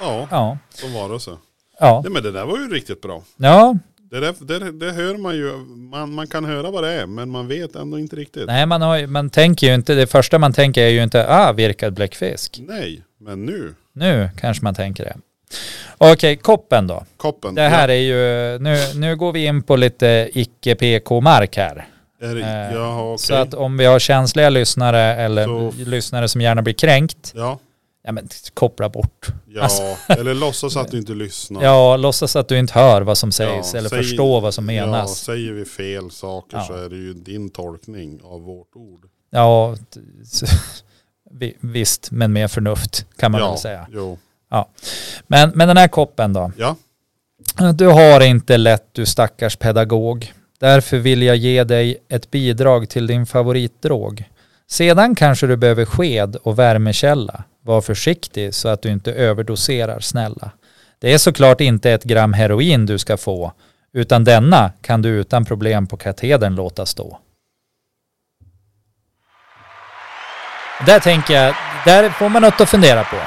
Ja, Ja, som varelse. ja, Nej men det där var ju riktigt bra. ja. Det, där, det, det hör man ju, man, man kan höra vad det är men man vet ändå inte riktigt. Nej. Typ. Nej, man, har, ju- man tänker ju inte, det första man tänker är ju inte, ah, virkad bläckfisk. men nu. Nu kanske man tänker det. Okej, koppen då. Koppen. Det här är ju, nu, nu går vi in på lite icke-PK-mark här. Ja, är det, eh, jaha, okej. Så att om vi har känsliga lyssnare eller Så- lyssnare som gärna blir kränkt, Ja, ja men koppla bort. ja. Alltså- eller låtsas att du inte lyssnar. Ja, låtsas att du inte hör vad som sägs Ja, eller säg- förstår vad som Ja, menas. säger vi fel saker Ja. så är det ju din tolkning av vårt ord. Ja, t- s- *laughs* vi- visst, men med förnuft kan man ja, väl säga. Jo. Men, men den här koppen då. Ja. Du har inte lätt du stackars pedagog. Därför vill jag ge dig ett bidrag till din favoritdrog. Sedan kanske du behöver sked och värmekälla. Var försiktig så att du inte överdoserar snälla. Det är såklart inte ett gram heroin du ska få, utan denna kan du utan problem på katedern låta stå. Där tänker jag, där får man något att fundera på.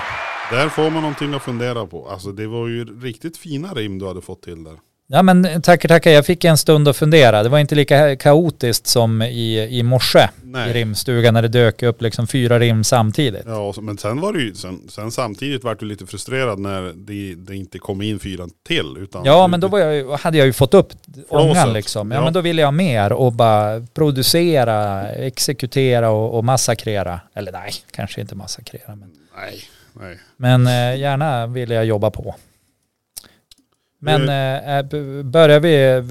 Där får man någonting att fundera på. Alltså det var ju riktigt fina rim du hade fått till där. Ja men tackar tackar, jag fick en stund att fundera. Det var inte lika kaotiskt som i, i morse Nej. i rimstugan när det dök upp liksom fyra rim samtidigt. Ja, och så- men sen var det ju, sen, sen samtidigt vart du lite frustrerad när det, det inte kom in fyran till. Utan Ja men då var jag, ju- hade jag ju fått upp ångan Flåset. liksom. Ja, Ja. men då ville jag mer och bara producera, exekutera och, och massakrera. Eller nej, kanske inte massakrera men, Nej, nej. men eh, gärna ville jag jobba på. Men Du- eh, b- börjar vi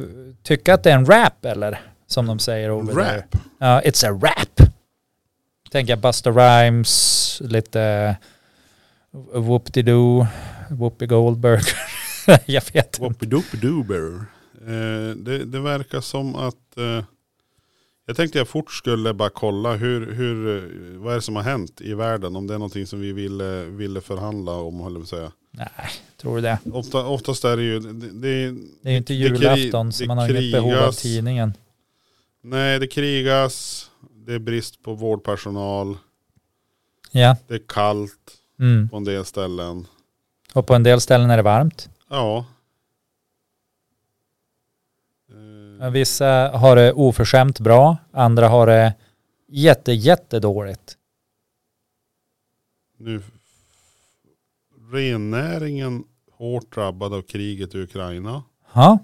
tycka att det är en rap eller? Som de säger over there. Rap. Ja, it's a rap. Tänker jag Busta Rhymes, lite eh, Whoop-de-doo, Whoopi Goldberg. *laughs* jag vet inte. Whoopidoopidober. Eh, det, det verkar som att... Eh, jag tänkte jag fort skulle bara kolla hur, hur, eh, vad är det som har hänt i världen. Om det är någonting som vi ville, ville förhandla om, höll jag på att säga. Nej, tror du det? Ofta, oftast är det ju... Det, det, Det är ju inte det kri- julafton så det man har inget behov av krigas. tidningen. Nej, det krigas. Det är brist på vårdpersonal. Ja, Det är kallt mm. på en del ställen. och på en del ställen är det varmt. Ja. Men Eh, Vissa har det oförskämt bra, andra har det jätte, jättedåligt. nu. Rennäringen hårt drabbad av kriget i Ukraina. Ja,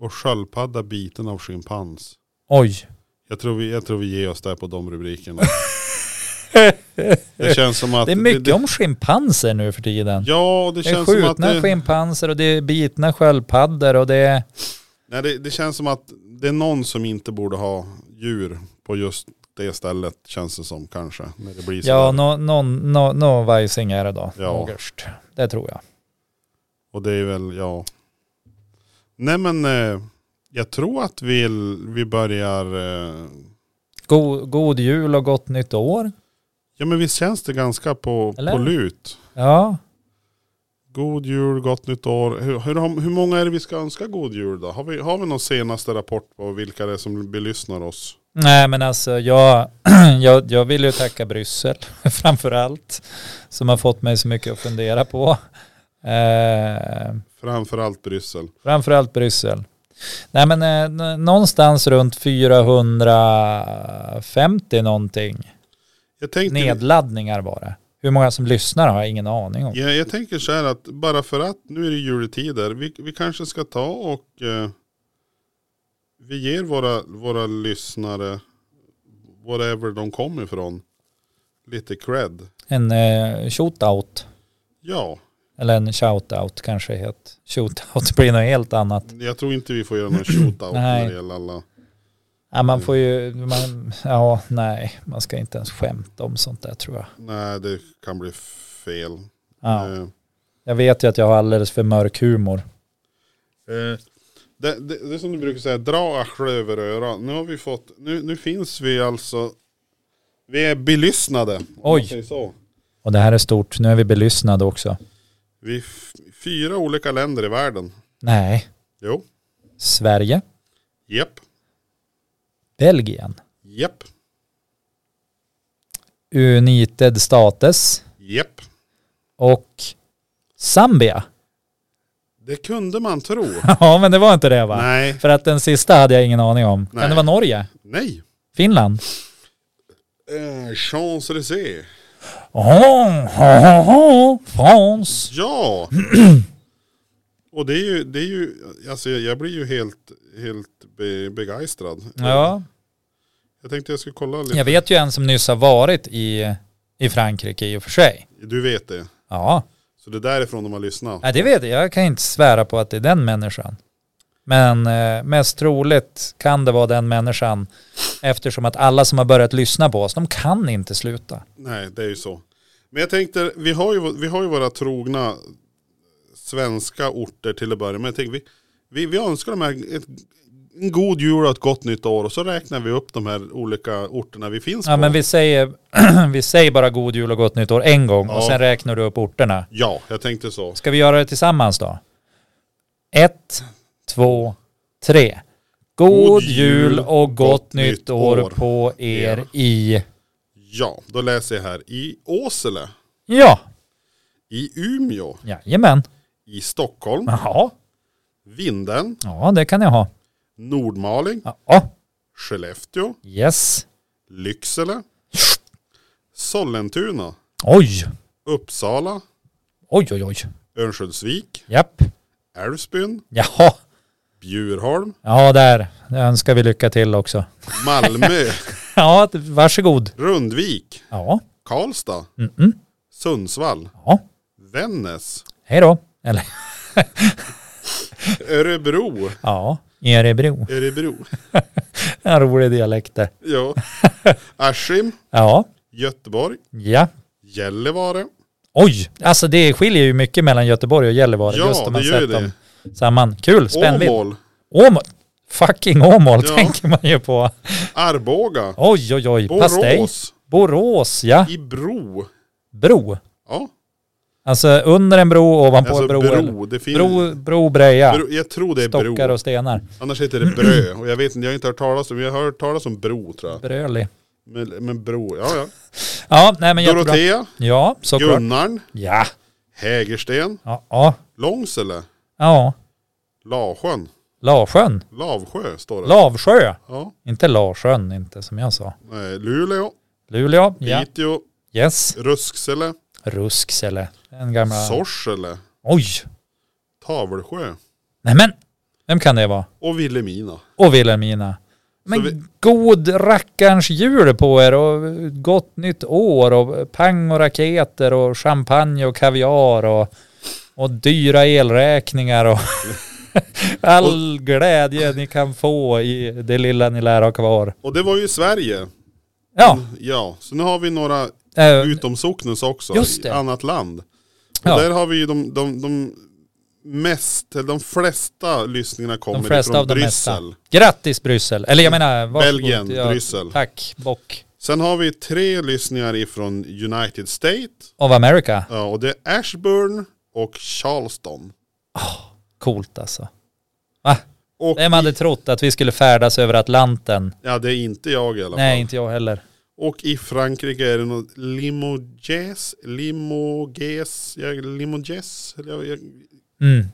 Och sköldpadda biten av schimpans. oj. Jag tror, vi, jag tror vi ger oss där på de *laughs* rubrikerna. det känns som att... Det är mycket om schimpanser nu för tiden. Ja, och det Det är känns som att... skjutna Det, schimpanser och det är bitna sköldpaddor och det är... nej, det, det känns som att det är någon som inte borde ha djur på just det stället känns det som kanske. När det blir Ja, sådär. nå nå nå nå vajsing är det då. Ja. August. Det tror jag. Och det är väl, ja. Nej men eh, jag tror att vi, vi börjar, eh, God, god jul och gott nytt år. ja men visst känns det ganska på, Eller? på lut. Ja, God jul, gott nytt år. Hur, hur, hur många är det vi ska önska god jul då? Har vi, har vi någon senaste rapport på vilka det är som belyssnar oss? nej men alltså jag, *clears throat* jag, jag vill ju tacka Bryssel *laughs* framför allt. Som har fått mig så mycket att fundera på. Eh, Framförallt Bryssel. framför allt Bryssel. Nej men eh, n- någonstans runt 450 någonting Jag tänkte, nedladdningar var det. Hur många som lyssnar har jag ingen aning om. Ja, jag tänker så här att bara för att nu är det juletider, vi, vi kanske ska ta och eh, vi ger våra, våra lyssnare, whatever de kommer ifrån, lite cred. En eh, shootout. Ja, Eller en shout-out kanske det heter. Shoot-out *laughs* blir något helt annat. jag tror inte vi får göra någon *clears throat* shootout Nej. när det gäller alla. Ja, man får ju, man, ja nej, man ska inte ens skämta om sånt där tror jag. Nej, det kan bli fel. Ja. Eh, Jag vet ju att jag har alldeles för mörk humor. Eh, Det, det, det är som du brukar säga, dra arslet över örat. Nu har vi fått, nu, nu finns vi alltså, vi är belyssnade. om man Oj. säger Så. Och det här är stort, nu är vi belyssnade också. Vi är f- fyra olika länder i världen. Nej, Jo. Sverige, Japp. Belgien, Japp. United States Japp. och Zambia. *laughs* Det kunde man tro. Ja men det var inte det va? Nej. För att den sista hade jag ingen aning om. Nej. Kan det vara Norge? Nej. Finland? Eh, Champs-Élysées. Oh, oh, oh, Frans. Ja! Och det är ju, det är ju alltså jag jag blir ju helt, helt be, begeistrad. Ja, Jag tänkte jag skulle kolla lite. jag vet ju en som nyss har varit i, i Frankrike i och för sig. Du vet det. Ja, Så det är därifrån de har lyssnat. Nej, det vet jag. Jag kan inte svära på att det är den människan. Men eh, mest troligt kan det vara den människan eftersom att alla som har börjat lyssna på oss, de kan inte sluta. Nej, det är ju så. Men jag tänkte, vi har ju, vi har ju våra trogna svenska orter till att börja med. Jag tänkte, vi, vi, vi önskar dem här ett, en god jul och ett gott nytt år och så räknar vi upp de här olika orterna vi finns Ja, på. men vi säger, *clears throat* vi säger bara god jul och gott nytt år en gång och Ja. sen räknar du upp orterna. Ja, jag tänkte så. Ska vi göra det tillsammans då? Ett, två, tre. God jul och gott nytt år på er i... Ja, då läser jag här. I Åsele, Ja, i Umeå, jajamän. i Stockholm, Jaha, Vindeln, ja det kan jag ha. Nordmaling, Ja, Skellefteå, yes. Lycksele, Sollentuna, Oj, Uppsala, oj, oj, oj. Örnsköldsvik, Japp. Älvsbyn, Jaha. Bjurholm, Ja, där. Det önskar vi lycka till också. *laughs* Malmö, Ja, varsågod. Rundvik, Ja, Karlstad, mm-mm. Sundsvall, ja. *laughs* Vännäs, hej då. Eller Örebro. ja, Örebro. Örebro. En rolig dialekt där. *laughs* *laughs* Ja. Askim, Ja, Göteborg, ja. Gällivare. Oj, alltså det skiljer ju mycket mellan Göteborg och Gällivare. Ja, just om man det gör sett det. dem samman. Kul, spännvidd. Åmål, Åmål. Fucking Åmål Ja. tänker man ju på. Arboga, Oj, oj, oj. Pastej. Borås, Borås, ja. Ibro. Bro. Ja, Alltså under en bro, ovanpå alltså en bro. eller- bro. Det finns, Bro, bro Breja. bro. Jag tror det är Stockar bro. och stenar. Annars heter det *laughs* brö. Och jag vet inte, jag har inte hört talas om, jag har hört talas om bro tror jag. Bröli. Men, men bro, ja Ja, nej men ja. jättebra. Dorotea, Ja, såklart. Gunnarn, Ja. Hägersten, Ja, ja. Långsele, ja. Lasjön, Lavsjön. Lavsjö står det. Lavsjö. Ja, Inte Larsjön, inte som jag sa. eh, Luleå, Luleå. Ja. Piteå, Yes. Rusksele, Rusksele. Den gamla... Sorsele, Oj. Tavelsjö Nej men. Vem kan det vara? och Vilhelmina. Och Vilhelmina. Men vi- god rackarns jul på er och gott nytt år och pang och raketer och champagne och kaviar och, och dyra elräkningar och *laughs* all glädje ni kan få i det lilla ni lär ha kvar. Och det var ju Sverige. Ja, Ja, så nu har vi några eh, Mm. utomsocknes också. Just det. I annat land. Och Ja. där har vi ju de, de, de mest, eller de flesta lyssningarna kommer de flesta ifrån av de Bryssel. mesta. Grattis Bryssel! Eller jag menar, varsågod. Belgien, Ja, Bryssel. Tack, bock. Sen har vi tre lyssningar ifrån United States. Of America. Ja, och det är Ashburn och Charleston. Coolt alltså. Och, Vem hade trott att vi skulle färdas över Atlanten? ja, det är inte jag i alla fall. Nej, inte jag heller. Och i Frankrike är det något Limoges, Limoges, ja, Limoges, eller jag- jag- Mm.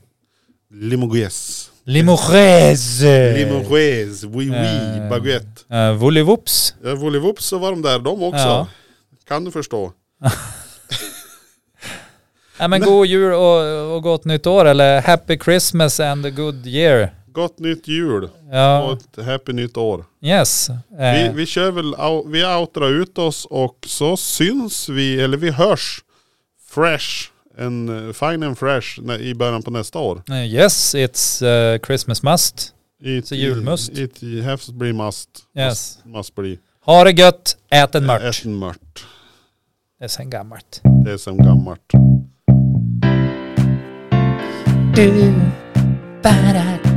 Limoges. Limoges. Limoges, oui oui, Eh. baguette. Uh, Volleyvoops. Ja, Volleyvoops så var de där de också. Ja. Kan du förstå. Ja, men god jul och, och gott nytt år eller happy Christmas and a good year. Gott nytt jul och Ja, ett happy nytt år. yes. Eh, Vi, vi kör väl, au- vi outrar ut oss och så syns vi, eller vi hörs fresh, en eh, fine and fresh nä- i början på nästa år. eh, yes, it's eh, Christmas must. It, Så julmust. It, it has bli must. Yes. Must bli. Ha det gött, ät en mört. Ett mört. Det är sen gammalt. Det är som gammalt. do ba da